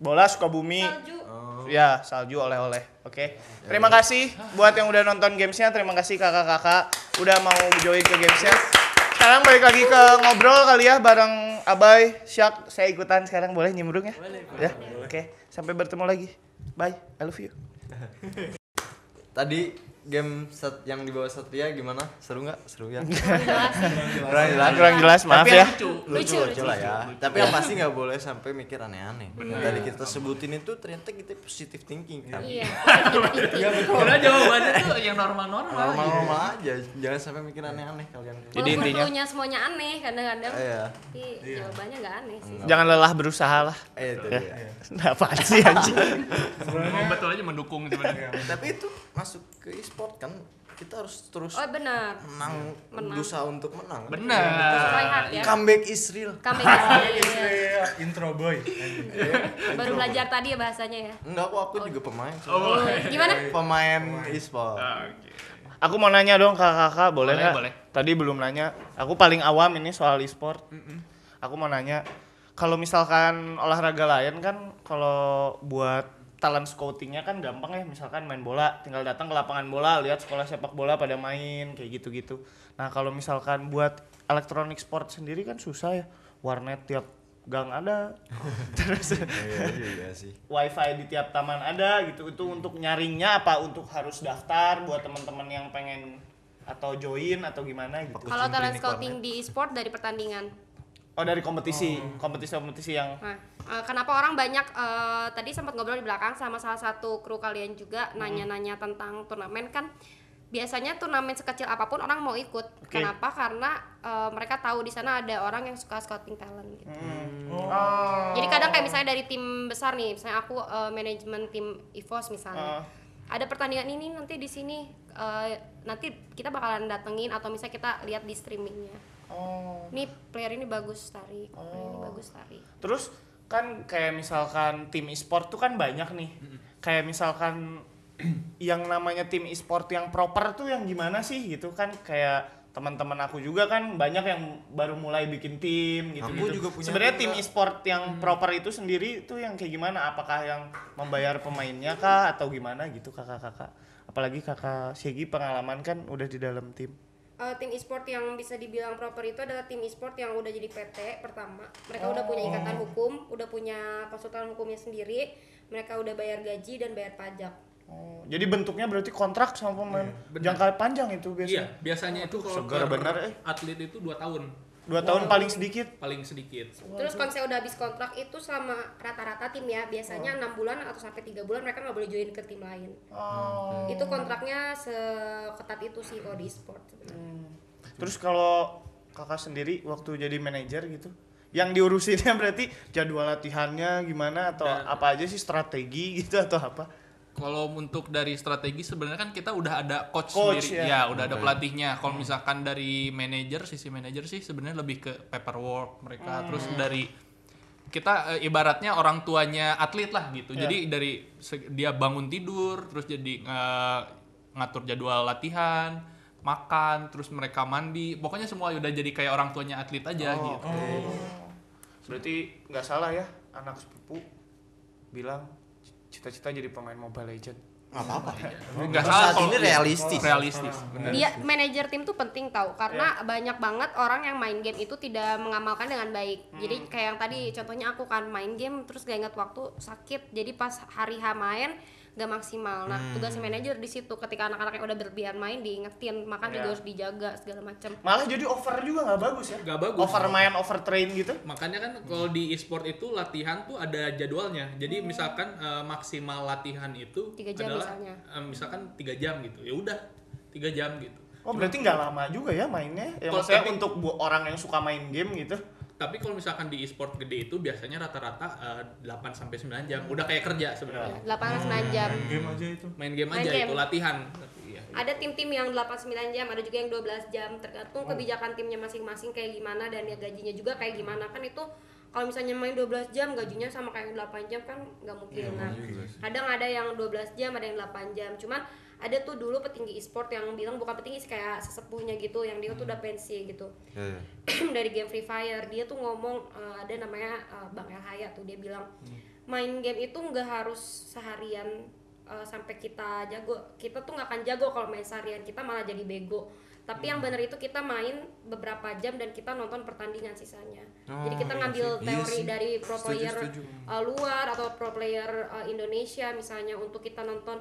[SPEAKER 5] Bola Sukabumi.
[SPEAKER 4] salju.
[SPEAKER 5] Ya, salju oleh-oleh. Oke. Terima kasih buat yang udah nonton gamesnya. Terima kasih kakak-kakak udah mau join ke gamesnya. Sekarang balik lagi ke ngobrol kali ya bareng Abai, Syak. Saya ikutan sekarang boleh nyembrung ya? Boleh. Ya. Oke. Sampai bertemu lagi. Bye. I love you.
[SPEAKER 2] Tadi game set yang di bawah Satria gimana? Seru nggak? Seru ya?
[SPEAKER 1] Kurang
[SPEAKER 2] jelas.
[SPEAKER 5] Kurang jelas, maaf
[SPEAKER 3] Tapi yang
[SPEAKER 5] ya.
[SPEAKER 3] lucu.
[SPEAKER 2] lucu,
[SPEAKER 4] Lucu,
[SPEAKER 2] lucu lah ya.
[SPEAKER 3] lucu.
[SPEAKER 2] Tapi yang pasti nggak boleh sampai mikir aneh-aneh. Dari kita sebutin itu ternyata kita positive thinking kan.
[SPEAKER 4] Iya. gitu.
[SPEAKER 3] Karena jawabannya tuh yang normal-normal.
[SPEAKER 2] Normal-normal aja, jangan sampai mikir aneh-aneh kalian.
[SPEAKER 5] Jadi
[SPEAKER 4] Walaupun
[SPEAKER 5] intinya-
[SPEAKER 4] cluenya semuanya aneh kadang-kadang.
[SPEAKER 2] Iya.
[SPEAKER 4] Tapi jawabannya nggak aneh sih.
[SPEAKER 5] Jangan lelah berusaha lah.
[SPEAKER 2] Eh, itu dia.
[SPEAKER 5] Nah, apaan sih anjing?
[SPEAKER 1] Sebenarnya
[SPEAKER 3] Emang betul aja mendukung sebenarnya.
[SPEAKER 1] ya,
[SPEAKER 2] Tapi itu masuk ke e-sport kan kita harus terus
[SPEAKER 4] Oh benar.
[SPEAKER 2] menang,
[SPEAKER 4] Menang.
[SPEAKER 2] berusaha untuk menang.
[SPEAKER 4] Try
[SPEAKER 3] Benar.
[SPEAKER 4] hard ya.
[SPEAKER 2] Comeback is real.
[SPEAKER 4] Kami
[SPEAKER 1] Iya, intro boy.
[SPEAKER 4] baru belajar tadi ya bahasanya ya.
[SPEAKER 2] Enggak kok aku juga pemain.
[SPEAKER 3] Oh,
[SPEAKER 1] Iya,
[SPEAKER 3] oke.
[SPEAKER 4] Gimana?
[SPEAKER 2] iya. Pemain Ah. e-sport.
[SPEAKER 5] Aku mau nanya dong ke kakak, boleh
[SPEAKER 3] Boleh,
[SPEAKER 5] nggak?
[SPEAKER 3] boleh.
[SPEAKER 5] Tadi belum nanya. Aku paling awam ini soal e-sport. Aku mau nanya, kalau misalkan olahraga lain kan, kalau buat talent scoutingnya kan gampang ya. Misalkan main bola, tinggal datang ke lapangan bola, lihat sekolah sepak bola pada main, kayak gitu-gitu. Nah kalau misalkan buat elektronik sport sendiri kan susah ya. Warnet tiap gang ada, terus
[SPEAKER 2] Iya juga sih.
[SPEAKER 5] wifi di tiap taman ada gitu itu untuk nyaringnya apa untuk harus daftar buat teman-teman yang pengen atau join atau gimana gitu
[SPEAKER 4] Kalau talent scouting di e-sport dari pertandingan.
[SPEAKER 5] oh dari kompetisi kompetisi kompetisi yang
[SPEAKER 4] Nah, eh, kenapa orang banyak eh, tadi sempat ngobrol di belakang sama salah satu kru kalian juga
[SPEAKER 1] Hmm.
[SPEAKER 4] nanya-nanya tentang turnamen kan biasanya turnamen sekecil apapun orang mau ikut.
[SPEAKER 5] Oke.
[SPEAKER 4] Kenapa? Karena eh, mereka tahu di sana ada orang yang suka scouting talent gitu.
[SPEAKER 5] Oh.
[SPEAKER 4] Jadi kadang kayak misalnya dari tim besar nih, misalnya aku eh, manajemen tim EVOS misalnya.
[SPEAKER 5] Ah.
[SPEAKER 4] Ada pertandingan ini nanti di sini eh, nanti kita bakalan datengin atau misalnya kita lihat di streamingnya.
[SPEAKER 5] oh
[SPEAKER 4] Ini player ini bagus tarik, player ini bagus tarik.
[SPEAKER 5] terus kan kayak misalkan tim e-sport tuh kan banyak nih kayak misalkan yang namanya tim e-sport yang proper tuh yang gimana sih gitu kan kayak teman-teman aku juga kan banyak yang baru mulai bikin tim gitu.
[SPEAKER 2] Aku juga punya
[SPEAKER 5] Sebenarnya
[SPEAKER 2] tim,
[SPEAKER 5] tim
[SPEAKER 2] Kak.
[SPEAKER 5] e-sport yang proper itu sendiri tuh yang kayak gimana? Apakah yang membayar pemainnya kah atau gimana gitu kakak-kakak? Apalagi kakak Segi pengalaman kan udah di dalam tim.
[SPEAKER 4] Eh, tim e-sport yang bisa dibilang proper itu adalah tim e-sport yang udah jadi PT pertama. Mereka udah punya ikatan hukum, udah punya konsultan hukumnya sendiri, mereka udah bayar gaji dan bayar pajak.
[SPEAKER 5] Oh, jadi bentuknya berarti kontrak sama pemain
[SPEAKER 2] Iya,
[SPEAKER 5] jangka panjang
[SPEAKER 3] Iya,
[SPEAKER 5] itu biasanya.
[SPEAKER 3] biasanya itu kalau
[SPEAKER 5] segar
[SPEAKER 3] per
[SPEAKER 5] bener, eh.
[SPEAKER 3] atlet itu 2 tahun
[SPEAKER 5] Dua tahun paling sedikit.
[SPEAKER 3] paling sedikit.
[SPEAKER 4] Terus kalau misalnya udah habis kontrak itu sama rata-rata tim ya, biasanya enam bulan atau sampai tiga bulan mereka nggak boleh join ke tim lain.
[SPEAKER 5] Oh.
[SPEAKER 4] Itu kontraknya seketat itu sih kalau di e-sport. sebenarnya.
[SPEAKER 5] Terus kalau kakak sendiri waktu jadi manajer gitu, yang diurusinnya berarti jadwal latihannya gimana atau apa aja sih strategi gitu atau apa?
[SPEAKER 3] Kalau untuk dari strategi sebenarnya kan kita udah ada coach,
[SPEAKER 5] Coach,
[SPEAKER 3] sendiri,
[SPEAKER 5] ya.
[SPEAKER 3] ya, udah ada pelatihnya. Kalau
[SPEAKER 2] Hmm.
[SPEAKER 3] misalkan dari manajer sisi manajer sih sebenarnya lebih ke
[SPEAKER 2] Hmm.
[SPEAKER 3] paperwork mereka. Terus dari kita eh, ibaratnya orang tuanya atlet lah gitu. Jadi dari se- dia bangun tidur, terus jadi eh, ngatur jadwal latihan, makan, terus mereka mandi. Pokoknya semua udah jadi kayak orang tuanya atlet aja gitu.
[SPEAKER 5] Berarti nggak salah ya anak sepupu bilang cita-cita jadi pemain Mobile Legend.
[SPEAKER 2] Enggak apa-apa.
[SPEAKER 3] Nggak
[SPEAKER 2] Saat
[SPEAKER 3] salah kalau
[SPEAKER 2] ini realistis.
[SPEAKER 3] realistis. Bener.
[SPEAKER 4] Dia manajer tim tuh penting tahu karena banyak banget orang yang main game itu tidak mengamalkan dengan baik. Jadi kayak yang tadi contohnya aku kan main game terus gak ingat waktu sakit. Jadi pas hari H main gak maksimal. Nah, tugas manajer di situ ketika anak-anak yang udah berlebihan main diingetin, makan juga
[SPEAKER 5] Iya.
[SPEAKER 4] harus dijaga segala macam.
[SPEAKER 5] Malah jadi over juga nggak bagus ya?
[SPEAKER 3] Nggak bagus.
[SPEAKER 5] Over main, over train gitu.
[SPEAKER 3] Makanya kan kalau di e-sport itu latihan tuh ada jadwalnya. Jadi misalkan eh, maksimal latihan itu
[SPEAKER 4] Hmm. Tiga jam
[SPEAKER 3] adalah
[SPEAKER 4] misalnya.
[SPEAKER 3] eh, misalkan tiga jam gitu. Ya udah tiga jam gitu.
[SPEAKER 5] Oh berarti nggak lama juga ya mainnya? Ya
[SPEAKER 3] Kalau
[SPEAKER 5] maksudnya
[SPEAKER 3] tapi-
[SPEAKER 5] untuk bu- orang yang suka main game gitu.
[SPEAKER 3] Tapi kalau misalkan di e-sport gede itu biasanya rata-rata 8 sampai 9 jam. Udah kayak kerja sebenarnya.
[SPEAKER 4] 8 9 jam.
[SPEAKER 1] Game aja itu.
[SPEAKER 3] Main Ya. game
[SPEAKER 4] Iya. Main
[SPEAKER 3] aja
[SPEAKER 4] game.
[SPEAKER 3] itu latihan. Iya.
[SPEAKER 4] Ada tim-tim yang 8-9 jam, ada juga yang 12 jam, tergantung
[SPEAKER 3] Hmm.
[SPEAKER 4] kebijakan timnya masing-masing kayak gimana dan ya gajinya juga kayak gimana kan itu kalau misalnya main 12 jam gajinya sama kayak yang 8 jam kan nggak
[SPEAKER 3] Iya,
[SPEAKER 4] mungkin. Nah, kadang ada yang 12 jam, ada yang 8 jam. Cuman ada tuh dulu petinggi e-sport yang bilang bukan petinggi sih, kayak sesepuhnya gitu yang dia tuh udah pensi gitu.
[SPEAKER 2] Iya.
[SPEAKER 4] dari game Free Fire dia tuh ngomong eh, ada namanya eh, Bang El Haya tuh dia bilang main game itu nggak harus seharian eh, sampai kita jago kita tuh nggak akan jago kalau main seharian kita malah jadi bego tapi yang bener itu kita main beberapa jam dan kita nonton pertandingan sisanya jadi kita ngambil teori dari pro uh, player eh, luar atau pro player eh, Indonesia misalnya untuk kita nonton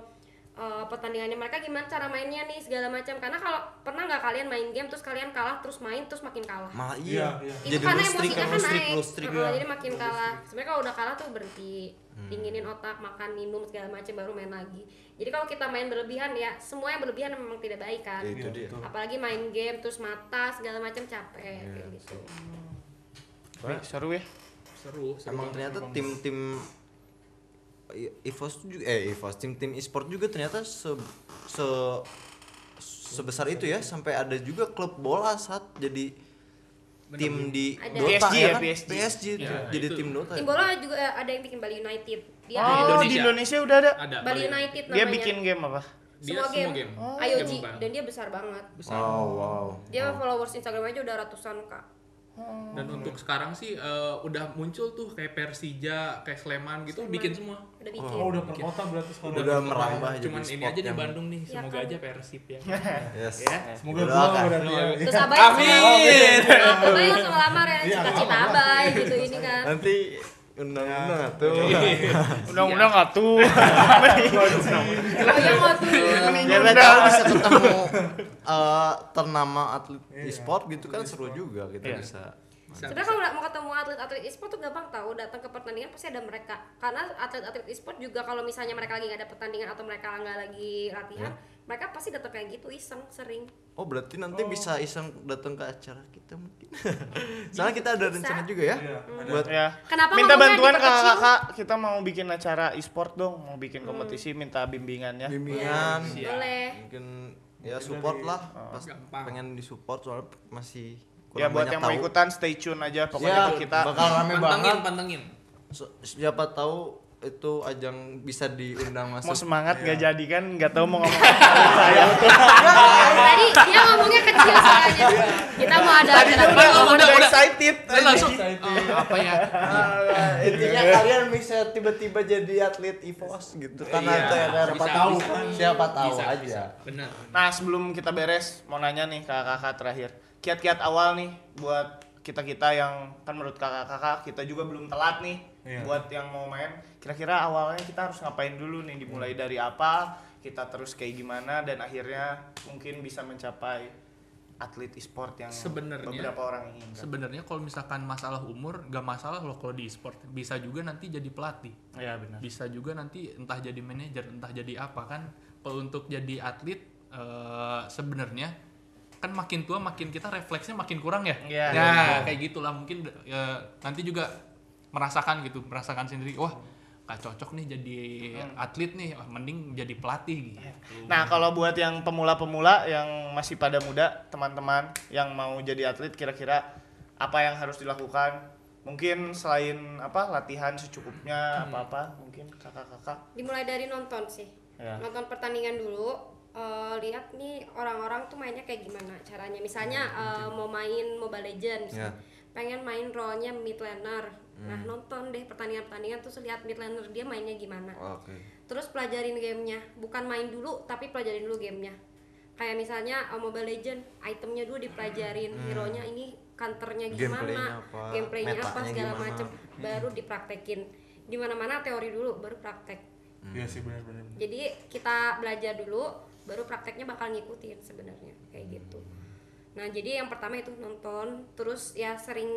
[SPEAKER 4] eh, eh, pertandingannya mereka gimana cara mainnya nih segala macam karena kalau pernah nggak kalian main game terus kalian kalah terus main terus makin kalah
[SPEAKER 2] malah iya,
[SPEAKER 1] Iya, iya.
[SPEAKER 4] itu
[SPEAKER 2] jadi
[SPEAKER 4] karena
[SPEAKER 2] low streak
[SPEAKER 4] emosinya
[SPEAKER 2] kan low
[SPEAKER 4] kan
[SPEAKER 2] streak
[SPEAKER 4] naik
[SPEAKER 2] low streak
[SPEAKER 4] Heeh,
[SPEAKER 1] ya.
[SPEAKER 4] jadi makin kalah sebenarnya kalau udah kalah tuh berhenti
[SPEAKER 2] Hmm.
[SPEAKER 4] dinginin otak makan minum segala macam baru main lagi jadi kalau kita main berlebihan ya semua yang berlebihan memang tidak baik kan
[SPEAKER 2] Ya, itu
[SPEAKER 1] Iya,
[SPEAKER 2] dia
[SPEAKER 1] betul.
[SPEAKER 4] apalagi main game terus mata segala macam capek
[SPEAKER 2] Iya,
[SPEAKER 4] kayak gitu
[SPEAKER 5] Wih, seru ya.
[SPEAKER 3] Seru, seru.
[SPEAKER 2] emang ternyata tim-tim i- EVOS tuh juga eh EVOS tim-tim e-sport juga ternyata se, se sebesar itu ya sampai ada juga klub bola saat jadi tim di
[SPEAKER 4] Ada.
[SPEAKER 2] Dota
[SPEAKER 5] PSG
[SPEAKER 2] ya
[SPEAKER 5] ya,
[SPEAKER 2] kan
[SPEAKER 5] PSG.
[SPEAKER 3] Ya,
[SPEAKER 2] jadi
[SPEAKER 3] itu.
[SPEAKER 2] tim Dota
[SPEAKER 4] tim bola juga eh, ada yang bikin Bali United dia
[SPEAKER 5] oh,
[SPEAKER 3] Indonesia.
[SPEAKER 5] di Indonesia udah ada.
[SPEAKER 3] ada
[SPEAKER 4] Iya,
[SPEAKER 3] ya?
[SPEAKER 4] Bali United namanya
[SPEAKER 5] Dia bikin game apa?
[SPEAKER 3] dia
[SPEAKER 4] semua game, Oh. IOG
[SPEAKER 3] Game
[SPEAKER 4] dan dia besar Oh. banget
[SPEAKER 2] wow wow
[SPEAKER 4] dia followers Instagram aja udah ratusan kak
[SPEAKER 3] Dan untuk sekarang sih eh, udah muncul tuh kayak Persija, kayak Sleman gitu bikin semua.
[SPEAKER 4] udah bikin
[SPEAKER 1] Oh, udah per kota berarti sekarang.
[SPEAKER 2] udah merambah jadi
[SPEAKER 3] Cuman ini
[SPEAKER 2] sport
[SPEAKER 3] aja di
[SPEAKER 2] yang-
[SPEAKER 3] Bandung nih,
[SPEAKER 4] Ya
[SPEAKER 3] semoga
[SPEAKER 4] kan.
[SPEAKER 3] aja Persib ya.
[SPEAKER 2] yes
[SPEAKER 1] Semoga gua
[SPEAKER 2] Doakan.
[SPEAKER 1] berarti ya.
[SPEAKER 4] terus abai amin abai langsung ngelamar ya
[SPEAKER 1] Iya,
[SPEAKER 4] cita-cita abai gitu ini kan
[SPEAKER 2] nanti undang-undang tuh
[SPEAKER 3] Iya.
[SPEAKER 2] Iya.
[SPEAKER 5] Undang-undang atuh.
[SPEAKER 4] oh ya mau tuh
[SPEAKER 2] Siapa
[SPEAKER 5] Iya.
[SPEAKER 2] tahu bisa ketemu eh, ternama atlet e-sport gitu kan seru juga kita bisa.
[SPEAKER 4] Sebenarnya kalau nggak mau ketemu atlet-atlet e-sport tuh gampang tahu datang ke pertandingan pasti ada mereka. Karena atlet-atlet e-sport juga kalau misalnya mereka lagi nggak ada pertandingan atau mereka nggak lagi latihan, mereka pasti datang kayak gitu iseng sering.
[SPEAKER 2] Oh berarti nanti bisa iseng datang ke acara kita mungkin. Soalnya kita ada rencana juga ya.
[SPEAKER 1] Iya,
[SPEAKER 3] Hmm.
[SPEAKER 1] ada.
[SPEAKER 2] Buat
[SPEAKER 5] ya.
[SPEAKER 4] Kenapa
[SPEAKER 5] minta
[SPEAKER 4] ngomongnya
[SPEAKER 5] bantuan
[SPEAKER 4] diperkecil?
[SPEAKER 5] kakak-kakak, kita mau bikin acara e-sport dong, mau bikin
[SPEAKER 4] Hmm.
[SPEAKER 5] kompetisi, minta bimbingannya.
[SPEAKER 2] bimbingan,
[SPEAKER 5] Iya,
[SPEAKER 4] Iya. Boleh.
[SPEAKER 2] mungkin ya support lah. Pas
[SPEAKER 3] Gampang.
[SPEAKER 2] pengen disupport soalnya masih kurang
[SPEAKER 5] Ya buat
[SPEAKER 2] banyak
[SPEAKER 5] yang mau
[SPEAKER 2] tahu.
[SPEAKER 5] ikutan stay tune aja
[SPEAKER 2] ya,
[SPEAKER 5] pokoknya kita.
[SPEAKER 2] bakal rame
[SPEAKER 3] Pantengin,
[SPEAKER 2] banget.
[SPEAKER 3] pantengin.
[SPEAKER 2] So- siapa tahu itu ajang bisa diundang
[SPEAKER 5] Mau
[SPEAKER 2] masuk. Iya.
[SPEAKER 5] semangat gak jadi kan, nggak tahu mau ngomong apa saya.
[SPEAKER 4] Tadi dia ngomongnya kecil soalnya. Kita mau ada acara
[SPEAKER 5] Udah,
[SPEAKER 3] Udah,
[SPEAKER 5] udah,
[SPEAKER 3] udah.
[SPEAKER 5] excited.
[SPEAKER 3] Saya langsung eh, apa ya?
[SPEAKER 2] Ah, intinya
[SPEAKER 5] Iya.
[SPEAKER 2] kalian bisa tiba-tiba jadi atlet EVOS gitu karena
[SPEAKER 3] Iya,
[SPEAKER 2] itu ya, ada
[SPEAKER 3] bisa,
[SPEAKER 2] siapa tahu
[SPEAKER 3] bisa.
[SPEAKER 2] kan siapa tahu
[SPEAKER 3] Bisa,
[SPEAKER 2] aja
[SPEAKER 3] bisa. Benar.
[SPEAKER 5] Nah sebelum kita beres, mau nanya nih ke kakak-kakak terakhir. Kiat-kiat awal nih buat kita-kita yang kan menurut kakak-kakak kita juga belum telat nih
[SPEAKER 1] Iya.
[SPEAKER 5] buat yang mau main. Kira-kira awalnya kita harus ngapain dulu nih? Dimulai dari apa? Kita terus kayak gimana? Dan akhirnya mungkin bisa mencapai atlet e-sport yang
[SPEAKER 3] Sebenarnya-
[SPEAKER 5] beberapa orang inginkan.
[SPEAKER 3] Sebenarnya kalau misalkan masalah umur gak masalah loh kalau di e-sport. Bisa juga nanti jadi pelatih.
[SPEAKER 2] Iya,
[SPEAKER 5] ya benar.
[SPEAKER 3] Bisa juga nanti entah jadi manajer, entah jadi apa kan. Pe- Untuk jadi atlet eh, sebenarnya kan makin tua makin kita refleksnya makin kurang ya.
[SPEAKER 5] Iya.
[SPEAKER 3] Nah, kayak gitulah mungkin eh, nanti juga merasakan gitu, merasakan sendiri, wah gak cocok nih jadi atlet nih, wah, mending jadi pelatih
[SPEAKER 2] Iya.
[SPEAKER 3] gitu.
[SPEAKER 5] Nah, kalau buat yang pemula-pemula yang masih pada muda, teman-teman yang mau jadi atlet kira-kira apa yang harus dilakukan? Mungkin selain apa latihan secukupnya apa-apa, mungkin kakak-kakak.
[SPEAKER 4] Dimulai dari nonton sih.
[SPEAKER 5] Ya.
[SPEAKER 4] Nonton pertandingan dulu. eh, lihat nih orang-orang tuh mainnya kayak gimana caranya. Misalnya eh, mau main Mobile Legends,
[SPEAKER 2] Hmm, Ya. Hmm.
[SPEAKER 4] pengen main role-nya mid laner. Nah nonton deh pertandingan-pertandingan terus lihat mid laner dia mainnya gimana.
[SPEAKER 2] oke
[SPEAKER 4] terus pelajarin gamenya bukan main dulu tapi pelajarin dulu gamenya kayak misalnya uh, Mobile Legend itemnya dulu dipelajarin hero-nya ini counternya gimana
[SPEAKER 2] Hmm. Gameplaynya apa,
[SPEAKER 4] gameplaynya apa
[SPEAKER 2] metanya
[SPEAKER 4] segala
[SPEAKER 2] gimana. Hmm.
[SPEAKER 4] macem baru dipraktekin di mana mana teori dulu baru praktek
[SPEAKER 1] Iya sih benar-benar.
[SPEAKER 4] jadi kita belajar dulu baru prakteknya bakal ngikutin sebenarnya kayak gitu nah jadi yang pertama itu nonton terus ya sering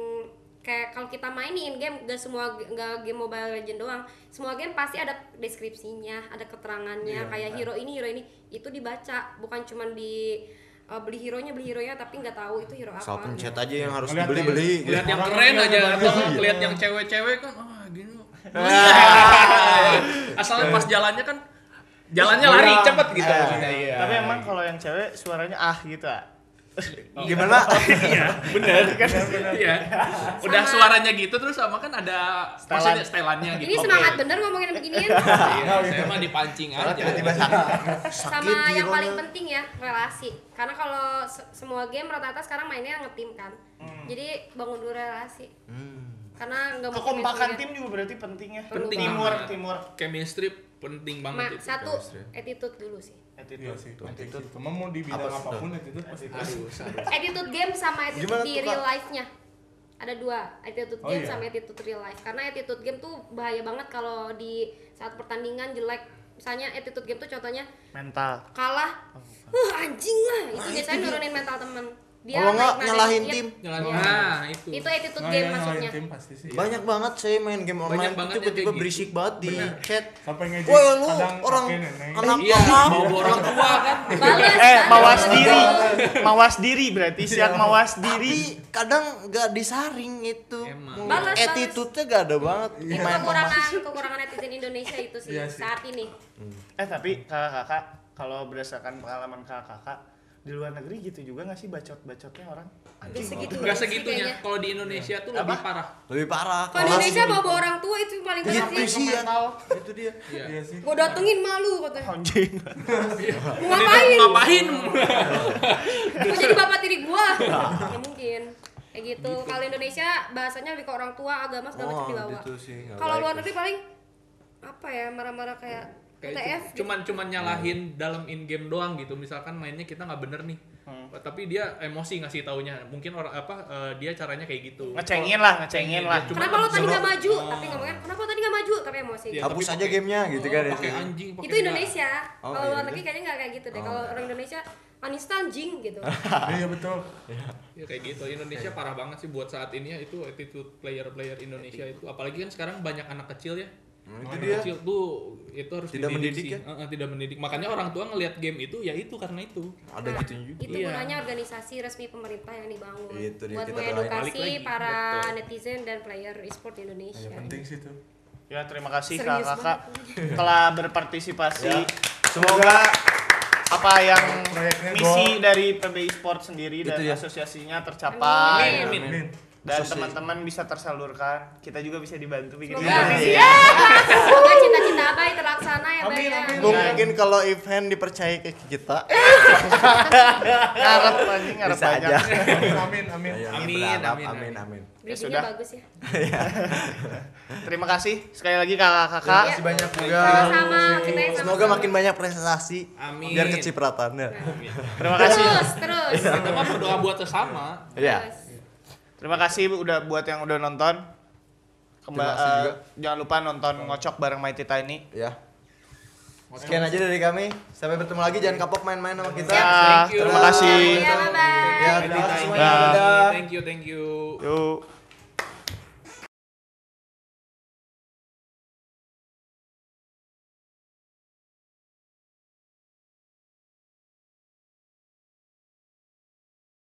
[SPEAKER 4] kayak kalau kita mainin game gak semua gak game mobile legend doang semua game pasti ada deskripsinya ada keterangannya kayak hero ini hero ini itu dibaca bukan cuman di uh, beli hero-nya beli hero-nya tapi nggak tahu itu hero
[SPEAKER 2] asal
[SPEAKER 4] apa Nah,
[SPEAKER 2] pencet aja yang harus gitu.
[SPEAKER 1] Ngeliat
[SPEAKER 2] dibeli beli
[SPEAKER 1] yang-
[SPEAKER 3] Lihat yang
[SPEAKER 1] Orang
[SPEAKER 3] kan keren
[SPEAKER 1] yang
[SPEAKER 3] aja
[SPEAKER 1] bagus.
[SPEAKER 3] atau nggak lihat yang cewek-cewek kan ah gini loh. asalnya pas jalannya kan jalannya lari cepet gitu maksudnya iya
[SPEAKER 5] Tapi emang kalau yang cewek suaranya ah gitu, ah.
[SPEAKER 2] gimana
[SPEAKER 5] Benar kan?
[SPEAKER 3] Iya. udah suaranya gitu terus sama kan ada maksudnya stelannya gitu
[SPEAKER 4] ini semangat bener ngomongin beginian
[SPEAKER 3] Iya, saya mah dipancing aja
[SPEAKER 2] tiba-tiba sakit
[SPEAKER 4] sama
[SPEAKER 2] di
[SPEAKER 4] yang
[SPEAKER 2] roda.
[SPEAKER 4] paling penting ya relasi karena kalau se- semua game rata-rata sekarang mainnya ngetim kan
[SPEAKER 2] Hmm.
[SPEAKER 4] jadi bangun dulu relasi karena nggak mungkin
[SPEAKER 5] Kekompakan
[SPEAKER 4] main
[SPEAKER 5] tim juga berarti penting ya.
[SPEAKER 4] Penting
[SPEAKER 5] Teamwork,
[SPEAKER 3] banget.
[SPEAKER 5] teamwork.
[SPEAKER 3] chemistry penting
[SPEAKER 4] sendiri. Ma,
[SPEAKER 3] banget itu
[SPEAKER 4] satu attitude dulu sih
[SPEAKER 1] Iya
[SPEAKER 5] Attitude.
[SPEAKER 1] sih. Attitude. Cuma mau di bidang
[SPEAKER 2] Apa sih,
[SPEAKER 1] apapun attitude pasti
[SPEAKER 3] harus
[SPEAKER 1] penting.
[SPEAKER 3] harus.
[SPEAKER 4] attitude game sama attitude
[SPEAKER 2] Gimana
[SPEAKER 4] di
[SPEAKER 2] tuh, Kak?
[SPEAKER 4] real life-nya ada dua attitude
[SPEAKER 1] Oh,
[SPEAKER 4] game
[SPEAKER 1] iya.
[SPEAKER 4] sama attitude real life karena attitude game tuh bahaya banget kalau di saat pertandingan jelek misalnya attitude game tuh contohnya
[SPEAKER 5] mental
[SPEAKER 4] kalah
[SPEAKER 2] Oh,
[SPEAKER 4] uh anjing lah itu biasanya nurunin mental temen
[SPEAKER 2] Nah,
[SPEAKER 4] dia
[SPEAKER 2] Kalau nggak,
[SPEAKER 4] naik-naik
[SPEAKER 2] nyalahin
[SPEAKER 4] dikit.
[SPEAKER 2] tim.
[SPEAKER 3] Nyalahin-
[SPEAKER 4] Iya.
[SPEAKER 3] Nah, itu.
[SPEAKER 4] itu attitude
[SPEAKER 1] Nah,
[SPEAKER 4] game
[SPEAKER 1] iya,
[SPEAKER 4] maksudnya
[SPEAKER 1] ngalahin tim pasti sih.
[SPEAKER 2] Banyak banget saya main game online
[SPEAKER 3] Banyak banget yang
[SPEAKER 2] tiba-tiba
[SPEAKER 3] kayak gitu.
[SPEAKER 2] berisik banget di chat.
[SPEAKER 1] Sampai ngejek
[SPEAKER 2] Woi lu
[SPEAKER 1] kadang
[SPEAKER 2] orang
[SPEAKER 1] kakek nenek.
[SPEAKER 2] anak
[SPEAKER 3] Iya,
[SPEAKER 2] mama,
[SPEAKER 3] mau bawa orang tua kan.
[SPEAKER 4] Balas,
[SPEAKER 5] eh
[SPEAKER 4] balas,
[SPEAKER 5] mawas
[SPEAKER 4] balas.
[SPEAKER 5] diri mawas diri berarti siap mawas diri
[SPEAKER 2] tapi kadang nggak disaring itu.
[SPEAKER 3] Emang.
[SPEAKER 4] Balas, balas.
[SPEAKER 2] Attitude-nya nggak ada banget.
[SPEAKER 4] itu
[SPEAKER 2] Main
[SPEAKER 4] kekurangan kekurangan netizen Indonesia itu sih
[SPEAKER 1] Iya sih.
[SPEAKER 4] saat ini
[SPEAKER 5] eh tapi kakak-kakak kalau berdasarkan pengalaman kakak-kakak di luar negeri gitu juga nggak sih bacot-bacotnya orang
[SPEAKER 4] Gak
[SPEAKER 3] Enggak
[SPEAKER 4] segitu sih Iya, kayaknya.
[SPEAKER 3] segitunya. Kalau di Indonesia tuh lebih parah.
[SPEAKER 2] lebih parah.
[SPEAKER 4] kalau di
[SPEAKER 2] kelas
[SPEAKER 4] Indonesia
[SPEAKER 2] gitu.
[SPEAKER 4] bawa bawa orang tua itu paling parah
[SPEAKER 2] Gitu
[SPEAKER 4] sih
[SPEAKER 2] sih ya.
[SPEAKER 1] itu dia.
[SPEAKER 3] Iya.
[SPEAKER 1] Iya sih.
[SPEAKER 4] gue datengin malu katanya
[SPEAKER 5] anjing
[SPEAKER 4] mau ngapain
[SPEAKER 3] Ngapain?
[SPEAKER 4] mau jadi bapak tiri gua ya mungkin kayak gitu, kalau Indonesia bahasanya lebih ke orang tua agama segala macam
[SPEAKER 2] Oh,
[SPEAKER 4] dibawa
[SPEAKER 2] gitu sih, nggak
[SPEAKER 4] kalau
[SPEAKER 2] baik
[SPEAKER 4] luar
[SPEAKER 2] tuh.
[SPEAKER 4] negeri paling apa ya marah-marah kayak
[SPEAKER 3] Kayak
[SPEAKER 4] TF
[SPEAKER 3] cu- cuman cuman
[SPEAKER 2] Hmm.
[SPEAKER 3] nyalahin dalam in game doang gitu misalkan mainnya kita nggak bener nih
[SPEAKER 2] Hmm.
[SPEAKER 3] Oh, tapi dia emosi ngasih taunya mungkin orang apa eh, dia caranya kayak gitu
[SPEAKER 5] ngecengin lah ngecengin
[SPEAKER 2] Iya,
[SPEAKER 5] lah
[SPEAKER 3] Cuma-
[SPEAKER 4] kenapa lo tadi nggak maju tapi ngomongnya kenapa lo tadi nggak maju tapi emosi
[SPEAKER 3] Iya,
[SPEAKER 2] Hapus
[SPEAKER 3] tapi
[SPEAKER 2] aja
[SPEAKER 3] pakai-
[SPEAKER 2] gamenya gitu kan ya.
[SPEAKER 3] pakai anjing pakai
[SPEAKER 4] itu
[SPEAKER 3] bela.
[SPEAKER 4] Indonesia
[SPEAKER 2] Oh,
[SPEAKER 4] kalau
[SPEAKER 2] iya
[SPEAKER 4] luar
[SPEAKER 2] gitu.
[SPEAKER 4] negeri kayaknya nggak kayak gitu deh kalau orang Indonesia Anista anjing gitu
[SPEAKER 1] Iya betul.
[SPEAKER 3] ya kayak gitu Indonesia
[SPEAKER 2] Iya.
[SPEAKER 3] parah banget sih buat saat ini ya itu attitude player-player Indonesia itu apalagi kan sekarang banyak anak kecil ya
[SPEAKER 2] itu
[SPEAKER 3] anak
[SPEAKER 2] dia.
[SPEAKER 3] kecil tuh itu harus
[SPEAKER 2] Iya. Tidak mendidik
[SPEAKER 3] sih.
[SPEAKER 2] ya?
[SPEAKER 3] Eh, eh, tidak mendidik makanya orang tua ngelihat game itu ya itu karena itu
[SPEAKER 2] Ada gitunya gitu juga.
[SPEAKER 4] itu
[SPEAKER 3] Iya.
[SPEAKER 4] gunanya organisasi resmi pemerintah yang dibangun
[SPEAKER 2] Itu dia,
[SPEAKER 4] buat
[SPEAKER 2] kita
[SPEAKER 3] balik lagi.
[SPEAKER 4] mengedukasi para
[SPEAKER 3] Betul.
[SPEAKER 4] netizen dan player e-sport di Indonesia
[SPEAKER 1] Ya, penting sih itu.
[SPEAKER 5] ya terima kasih
[SPEAKER 4] Serius
[SPEAKER 5] kakak-kakak telah berpartisipasi
[SPEAKER 2] Ya.
[SPEAKER 5] semoga apa yang
[SPEAKER 1] Proyeknya
[SPEAKER 5] misi
[SPEAKER 1] gua-
[SPEAKER 5] dari PBI Sport sendiri
[SPEAKER 2] Itu
[SPEAKER 5] dan
[SPEAKER 2] ya.
[SPEAKER 5] asosiasinya tercapai
[SPEAKER 3] Amin.
[SPEAKER 1] Amin.
[SPEAKER 5] dan
[SPEAKER 2] Asosiasi.
[SPEAKER 5] teman-teman bisa tersalurkan kita juga bisa dibantu bikin
[SPEAKER 4] Semoga.
[SPEAKER 5] kompetisi
[SPEAKER 4] Semoga cita-cita abai terlaksana ya
[SPEAKER 1] Amin,
[SPEAKER 4] Bay, ya.
[SPEAKER 2] Iya,
[SPEAKER 1] amin.
[SPEAKER 2] Mungkin kalau event dipercaya ke kita,
[SPEAKER 4] Eh,
[SPEAKER 5] ngarep anjing ngarep
[SPEAKER 2] bisa
[SPEAKER 5] banyak
[SPEAKER 2] aja.
[SPEAKER 1] Amin, amin.
[SPEAKER 2] Ya,
[SPEAKER 3] Amin,
[SPEAKER 2] berharap,
[SPEAKER 3] amin,
[SPEAKER 2] amin,
[SPEAKER 3] amin.
[SPEAKER 2] amin.
[SPEAKER 4] Bridgingnya
[SPEAKER 5] sudah.
[SPEAKER 4] bagus ya.
[SPEAKER 5] terima kasih sekali lagi kakak-kakak
[SPEAKER 4] Iya.
[SPEAKER 1] banyak
[SPEAKER 2] juga.
[SPEAKER 4] Sama-sama kita yang
[SPEAKER 2] Semoga makin banyak prestasi.
[SPEAKER 3] Amin.
[SPEAKER 2] Biar ya.
[SPEAKER 4] Nah,
[SPEAKER 2] kecipratannya.
[SPEAKER 5] terima kasih
[SPEAKER 4] terus terus.
[SPEAKER 3] kita mah berdoa buat sesama
[SPEAKER 2] Iya.
[SPEAKER 5] terima kasih udah buat yang udah nonton Kemba-
[SPEAKER 2] Terima kasih
[SPEAKER 5] eh,
[SPEAKER 2] juga.
[SPEAKER 5] jangan lupa nonton ngocok bareng My Tita ini
[SPEAKER 2] Ya. Sekian aja dari kami. Sampai bertemu lagi. Jangan kapok main-main sama kita.
[SPEAKER 5] ya,
[SPEAKER 3] thank you.
[SPEAKER 5] terima kasih
[SPEAKER 4] Ya, bye bye.
[SPEAKER 2] Iya, Ya, terima kasih semuanya. Dadah.
[SPEAKER 3] thank you thank you
[SPEAKER 5] yuk